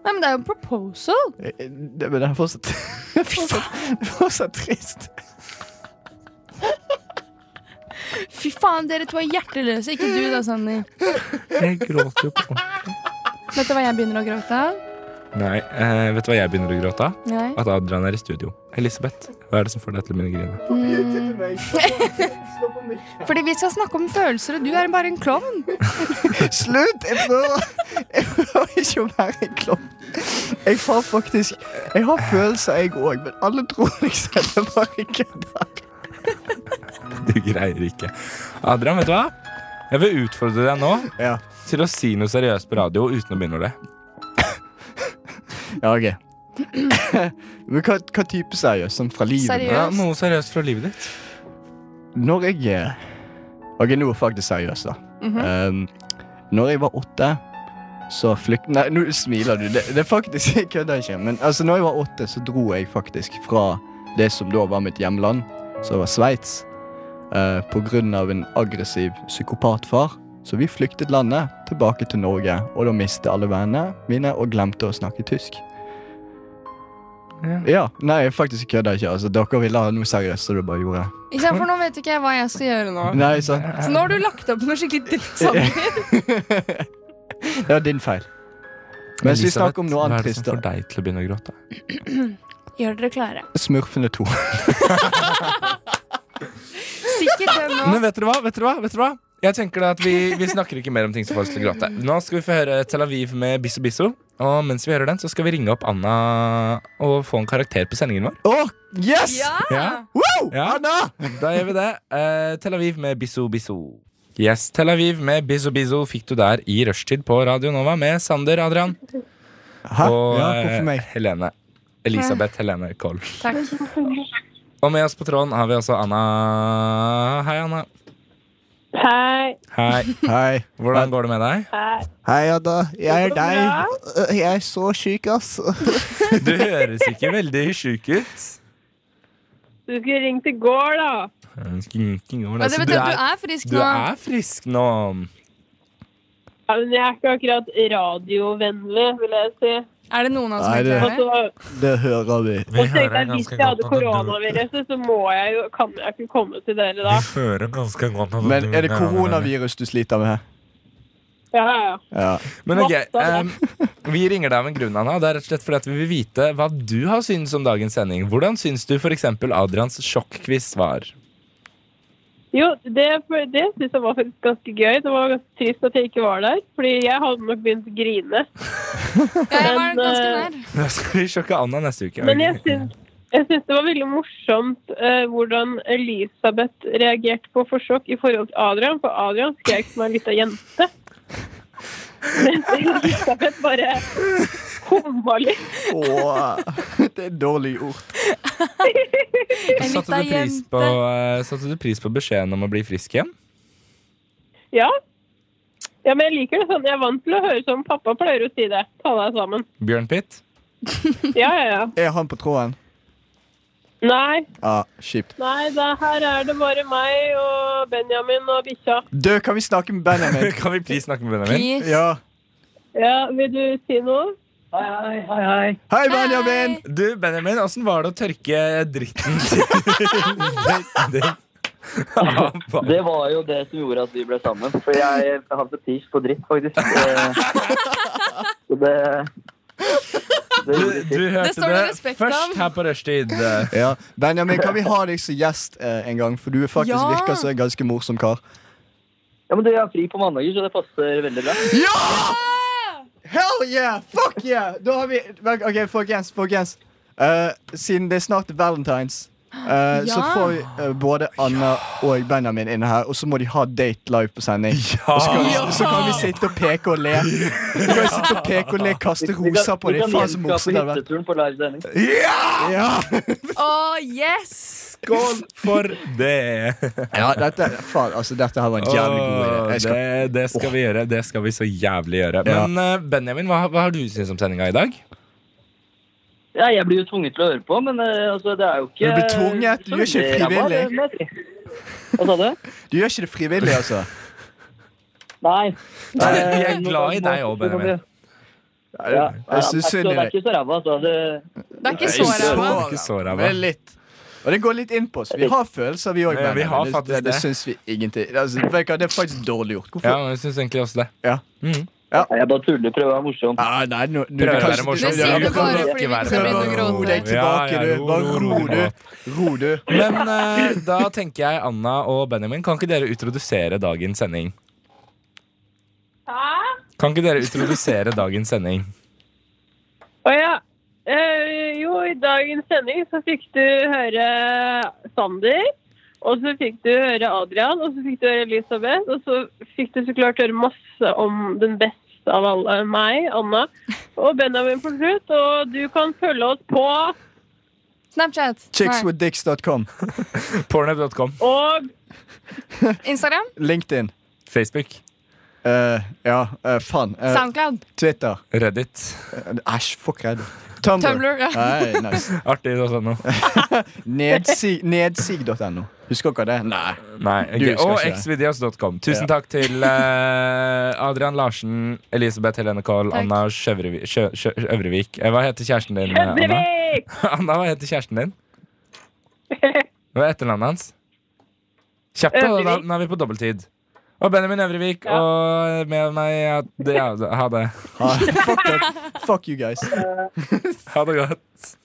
[SPEAKER 8] Nei, men det er jo proposal.
[SPEAKER 4] Eh, eh, Det, men det er fortsatt fortsatt- Fortsatt trist.
[SPEAKER 8] Fy faen, dere to er hjerteløse. Ikke du da, Sanni.
[SPEAKER 7] Jeg gråter jo på ordentlig.
[SPEAKER 8] Vet du hva jeg begynner å gråte av?
[SPEAKER 7] Nei, eh, vet du hva jeg begynner å gråte av?
[SPEAKER 8] Nei.
[SPEAKER 7] At Adrian er i studio. Elisabeth, hva er det som får deg til å begynne å grine?
[SPEAKER 8] Fordi vi skal snakke om følelser, og du er bare en klovn.
[SPEAKER 4] Slutt! Jeg prøver, jeg prøver ikke å være en klovn. Jeg har faktisk Jeg har følelser, jeg òg, men alle tror liksom at jeg bare kødder.
[SPEAKER 7] Du greier ikke. Adrian, vet du hva? Jeg vil utfordre deg nå
[SPEAKER 4] Ja.
[SPEAKER 7] til å si noe seriøst på radio uten å begynne å le.
[SPEAKER 4] ja, OK. Men hva, hva type seriøst? Sånn fra livet?
[SPEAKER 8] Seriøst?
[SPEAKER 7] Ja, noe seriøst fra livet ditt.
[SPEAKER 4] Når jeg eh, Ok, nå er jeg faktisk seriøs, da. um, når jeg var åtte, så flykt... Nei, nå smiler du. Det, det er faktisk Jeg kødder ikke. Men altså, når jeg var åtte, så dro jeg faktisk fra det som da var mitt hjemland, som var Sveits, eh, på grunn av en aggressiv psykopatfar. Så vi flyktet landet tilbake til Norge, og da mistet alle vennene mine og glemte å snakke tysk.
[SPEAKER 7] Ja.
[SPEAKER 4] Ja, nei, jeg faktisk kødder ikke. Altså, dere ville ha noe seriøst, så det bare gjorde jeg.
[SPEAKER 8] Ikke sant, for nå vet ikke jeg hva jeg skal gjøre nå.
[SPEAKER 4] Nei, sant?
[SPEAKER 8] Så nå har du lagt opp noe skikkelig dritt sammen.
[SPEAKER 4] Det var din feil. Mens vi
[SPEAKER 7] Elisabeth,
[SPEAKER 4] snakker om noe
[SPEAKER 7] Hva
[SPEAKER 4] annet
[SPEAKER 7] er det
[SPEAKER 4] trist,
[SPEAKER 7] som får
[SPEAKER 4] da.
[SPEAKER 7] deg til å begynne å gråte?
[SPEAKER 5] Gjør dere klare?
[SPEAKER 4] Smurfene 2.
[SPEAKER 8] Sikkert det nå.
[SPEAKER 7] Men vet dere hva? Vet dere hva? Vet dere hva? Jeg tenker da at vi, vi snakker ikke mer om ting som får oss til å gråte. Nå skal vi få høre Tel Aviv med Bisso Bisso. Og mens vi hører den, så skal vi ringe opp Anna og få en karakter på sendingen vår.
[SPEAKER 4] Å, yes!
[SPEAKER 7] Ja.
[SPEAKER 4] Wow!
[SPEAKER 7] Ja.
[SPEAKER 4] Anna!
[SPEAKER 7] Da gjør vi det. Eh, Tel Aviv med Bisso Bisso. Yes, Tel Aviv med Bisso Bisso fikk du der i rushtid på Radio Nova med Sander, Adrian
[SPEAKER 4] Hæ?
[SPEAKER 7] og
[SPEAKER 4] Ja, hvorfor
[SPEAKER 7] eh,
[SPEAKER 4] meg?
[SPEAKER 7] Helene. Elisabeth Helene Kolb.
[SPEAKER 8] Takk.
[SPEAKER 7] Og med oss på tråden har vi også Anna. Hei, Anna.
[SPEAKER 9] Hei.
[SPEAKER 7] Hei.
[SPEAKER 4] Hei.
[SPEAKER 7] Hvordan går det med deg?
[SPEAKER 4] Hei, Ada. Jeg er deg. Øh, Jeg er så syk, ass.
[SPEAKER 7] Du høres ikke veldig sjuk ut.
[SPEAKER 9] Du skulle ringt i går, da.
[SPEAKER 8] Men det
[SPEAKER 7] Altså,
[SPEAKER 8] betyr at du er sånn- frisk
[SPEAKER 7] du
[SPEAKER 8] nå.
[SPEAKER 7] er frisk nå.
[SPEAKER 9] Ja, men jeg er ikke akkurat radiovennlig, vil jeg si.
[SPEAKER 8] Er det noen av oss som
[SPEAKER 4] Nei,
[SPEAKER 8] ikke
[SPEAKER 4] det-
[SPEAKER 8] er det?
[SPEAKER 9] Altså,
[SPEAKER 4] Det hører vi.
[SPEAKER 7] Vi
[SPEAKER 9] og tenkte jeg, Hvis jeg hadde koronaviruset, så må jeg jo, kan jeg ikke komme til dere da.
[SPEAKER 7] hører ganske godt at
[SPEAKER 4] Men
[SPEAKER 7] du-
[SPEAKER 4] er det koronavirus du sliter med?
[SPEAKER 9] Ja, ja.
[SPEAKER 4] Ja.
[SPEAKER 7] Men ok,
[SPEAKER 9] Masse.
[SPEAKER 7] em, vi ringer deg av en grunn, Anna. og Det er rett og slett fordi at vi vil vite hva du har syntes om dagens sending. Hvordan syns du f.eks. Adrians sjokkquiz var?
[SPEAKER 9] Jo, det, det syns jeg var faktisk ganske gøy. Det var ganske trist at jeg ikke var der, fordi jeg hadde nok begynt å grine.
[SPEAKER 8] Ja, jeg var
[SPEAKER 9] Men,
[SPEAKER 8] ganske
[SPEAKER 9] eh,
[SPEAKER 8] nær.
[SPEAKER 7] Da skal vi sjokke Anna neste uke.
[SPEAKER 9] Men jeg syns, jeg syns det var veldig morsomt eh, hvordan Elisabeth reagerte på forsjokk i forhold til Adrian, for Adrian skrek som en lita jente. Mens Elisabeth bare humma litt.
[SPEAKER 4] Åh, det er dårlig ord.
[SPEAKER 8] En
[SPEAKER 7] Satte
[SPEAKER 8] lita
[SPEAKER 7] du, pris på,
[SPEAKER 8] jente.
[SPEAKER 7] eh, satte du pris på beskjeden om å bli frisk igjen?
[SPEAKER 9] Ja. ja, men jeg liker det sånn. Jeg er vant til å høre sånn. Pappa pleier å si det. Ta deg sammen.
[SPEAKER 7] Bjørn Pitt?
[SPEAKER 9] Ja, ja, ja.
[SPEAKER 4] Er han på tråden?
[SPEAKER 9] Nei,
[SPEAKER 4] Ja, kjipt.
[SPEAKER 9] nei, det her er det bare meg og Benjamin og bikkja.
[SPEAKER 4] Du, kan vi snakke med Benjamin?
[SPEAKER 7] Kan vi please snakke med Benjamin?
[SPEAKER 8] Please.
[SPEAKER 4] Ja.
[SPEAKER 9] Ja, vil du si noe? Hei, hei, hei, hei.
[SPEAKER 4] Hei, Benjamin!
[SPEAKER 7] Du, Benjamin, åssen var det å tørke dritten til av-
[SPEAKER 10] Det var jo det som gjorde at vi ble sammen. For jeg hadde fetisj på dritt, faktisk. Eh, Så det, det
[SPEAKER 7] Du,
[SPEAKER 10] gjorde
[SPEAKER 7] du
[SPEAKER 10] sitt.
[SPEAKER 7] hørte
[SPEAKER 8] Det står det
[SPEAKER 7] det,
[SPEAKER 8] respekt
[SPEAKER 7] først
[SPEAKER 8] om.
[SPEAKER 7] her på rushtid.
[SPEAKER 4] Eh, Ja, Benjamin, kan vi ha deg som gjest eh, en gang? For du er faktisk
[SPEAKER 8] Ja.
[SPEAKER 4] virker som en ganske morsom kar.
[SPEAKER 10] Ja, men du jeg har fri på mandager, så det passer veldig bra.
[SPEAKER 4] Hell yeah! Fuck yeah! Da har vi OK, folkens. folkens. Eh, siden det er snart valentines, eh, så
[SPEAKER 8] Ja.
[SPEAKER 4] får vi eh, både Anna og Benjamin inn her. Og så må de ha date live på sending. Og så kan, vi, så kan vi sitte og peke og le. Så kan vi sitte og peke og le, kaste roser på
[SPEAKER 10] Vi
[SPEAKER 4] dem.
[SPEAKER 10] kan
[SPEAKER 4] Faen, så morsomt det
[SPEAKER 10] gjenskape
[SPEAKER 4] hadde vært.
[SPEAKER 10] hytteturen på live sending.
[SPEAKER 4] Ja.
[SPEAKER 8] Å, yes!
[SPEAKER 7] Skål for det!
[SPEAKER 4] Ja, dette, faen, altså, dette her var en jævlig god idé. Jeg skal,
[SPEAKER 7] det, det skal vi gjøre. Det skal vi så jævlig gjøre.
[SPEAKER 4] Ja.
[SPEAKER 7] Men eh, Benjamin, hva, hva har du syntes om sendinga i dag?
[SPEAKER 10] Ja, jeg blir jo tvunget til å høre på, men eh, altså, det er jo ikke
[SPEAKER 4] Du blir tvunget? Du gjør ikke
[SPEAKER 10] så veldig ræva,
[SPEAKER 4] frivillig.
[SPEAKER 10] det må jeg si. Hva sa du?
[SPEAKER 4] du gjør ikke det frivillig, altså.
[SPEAKER 10] Nei.
[SPEAKER 7] Nei, vi er
[SPEAKER 10] Eh,
[SPEAKER 7] glad i deg også, Benjamin.
[SPEAKER 10] Ja,
[SPEAKER 4] Jeg synes
[SPEAKER 10] det er
[SPEAKER 4] synd i
[SPEAKER 10] ikke- det er
[SPEAKER 4] deg.
[SPEAKER 10] ikke så ræva, altså. Det,
[SPEAKER 8] Det er ikke så ræva.
[SPEAKER 7] Det er ikke så ræva.
[SPEAKER 4] Men litt. Og det går litt inn på oss. Vi har følelser, vi òg.
[SPEAKER 7] Ja, vi har faktisk
[SPEAKER 4] det, det,
[SPEAKER 7] det.
[SPEAKER 4] det syns vi ingenting altså, vet du hva, Det er faktisk dårlig gjort. Hvorfor?
[SPEAKER 7] Ja, men jeg syns egentlig også det.
[SPEAKER 4] Ja.
[SPEAKER 7] Mhm.
[SPEAKER 10] Nei, jeg bare tuller. Prøver å være morsom.
[SPEAKER 4] Ah, nei, nå, nå,
[SPEAKER 7] Prøver å
[SPEAKER 4] kan-
[SPEAKER 7] være morsom.
[SPEAKER 4] du-
[SPEAKER 8] Det sier
[SPEAKER 4] du
[SPEAKER 8] du
[SPEAKER 4] kan-
[SPEAKER 8] bare
[SPEAKER 4] du
[SPEAKER 8] fordi vi ikke
[SPEAKER 4] kan-
[SPEAKER 8] skal begynne å
[SPEAKER 4] Ro deg
[SPEAKER 8] gråte.
[SPEAKER 4] tilbake,
[SPEAKER 7] Ja, ja,
[SPEAKER 4] du.
[SPEAKER 7] ro,
[SPEAKER 4] Bare
[SPEAKER 7] ro,
[SPEAKER 4] ro,
[SPEAKER 7] ro,
[SPEAKER 4] du.
[SPEAKER 7] ro.
[SPEAKER 4] Ro, du.
[SPEAKER 7] Men eh, da tenker jeg Anna og Benjamin, kan ikke dere introdusere dagens sending? Kan ikke dere introdusere dagens sending?
[SPEAKER 9] Å ja. Eh, jo, i dagens sending så fikk du høre Sander. Og så fikk du høre Adrian, og så fikk du høre Elisabeth. Og så fikk du så klart høre masse om den beste av alle, meg, Anna, og Benjamin på slutt. Og du kan følge oss på
[SPEAKER 8] Snapchat. Nei.
[SPEAKER 4] Chickswithdicks.com.
[SPEAKER 7] Pornhub.com.
[SPEAKER 9] og
[SPEAKER 8] Instagram.
[SPEAKER 4] LinkedIn.
[SPEAKER 7] Facebook.
[SPEAKER 4] Eh, ja, eh, faen. Eh,
[SPEAKER 8] Soundcloud.
[SPEAKER 4] Twitter.
[SPEAKER 7] Reddit.
[SPEAKER 4] Æsj, fuck redd. Tumblr. Eh,
[SPEAKER 8] Tumblr, ja.
[SPEAKER 4] Nei, nice.
[SPEAKER 7] Artig å sånn noe.
[SPEAKER 4] Nedsig- Nedsig.no. Husker dere det? Nei.
[SPEAKER 7] Nei,
[SPEAKER 4] Du
[SPEAKER 7] ok.
[SPEAKER 4] husker
[SPEAKER 7] Og
[SPEAKER 4] ikke det.
[SPEAKER 7] xvideos.com. Tusen
[SPEAKER 4] Ja.
[SPEAKER 7] takk til eh, Adrian Larsen, Elisabeth Helene Kohl,
[SPEAKER 8] Takk.
[SPEAKER 7] Anna Sjøvrevik Sjø, Sjø, Øvrevik. Eh, Hva heter kjæresten din, eh, Anna?
[SPEAKER 9] Øvrevik!
[SPEAKER 7] Anna, hva heter kjæresten din? Hva er etternavnet hans? Kjapt, da. da.
[SPEAKER 9] Øvrevik.
[SPEAKER 7] Nå er vi på dobbelttid. Og Benjamin Øvrevik
[SPEAKER 9] Ja.
[SPEAKER 7] og med meg ja, det- ja, Ha det.
[SPEAKER 4] Ah, fuck, that. fuck you guys.
[SPEAKER 7] Ha det godt.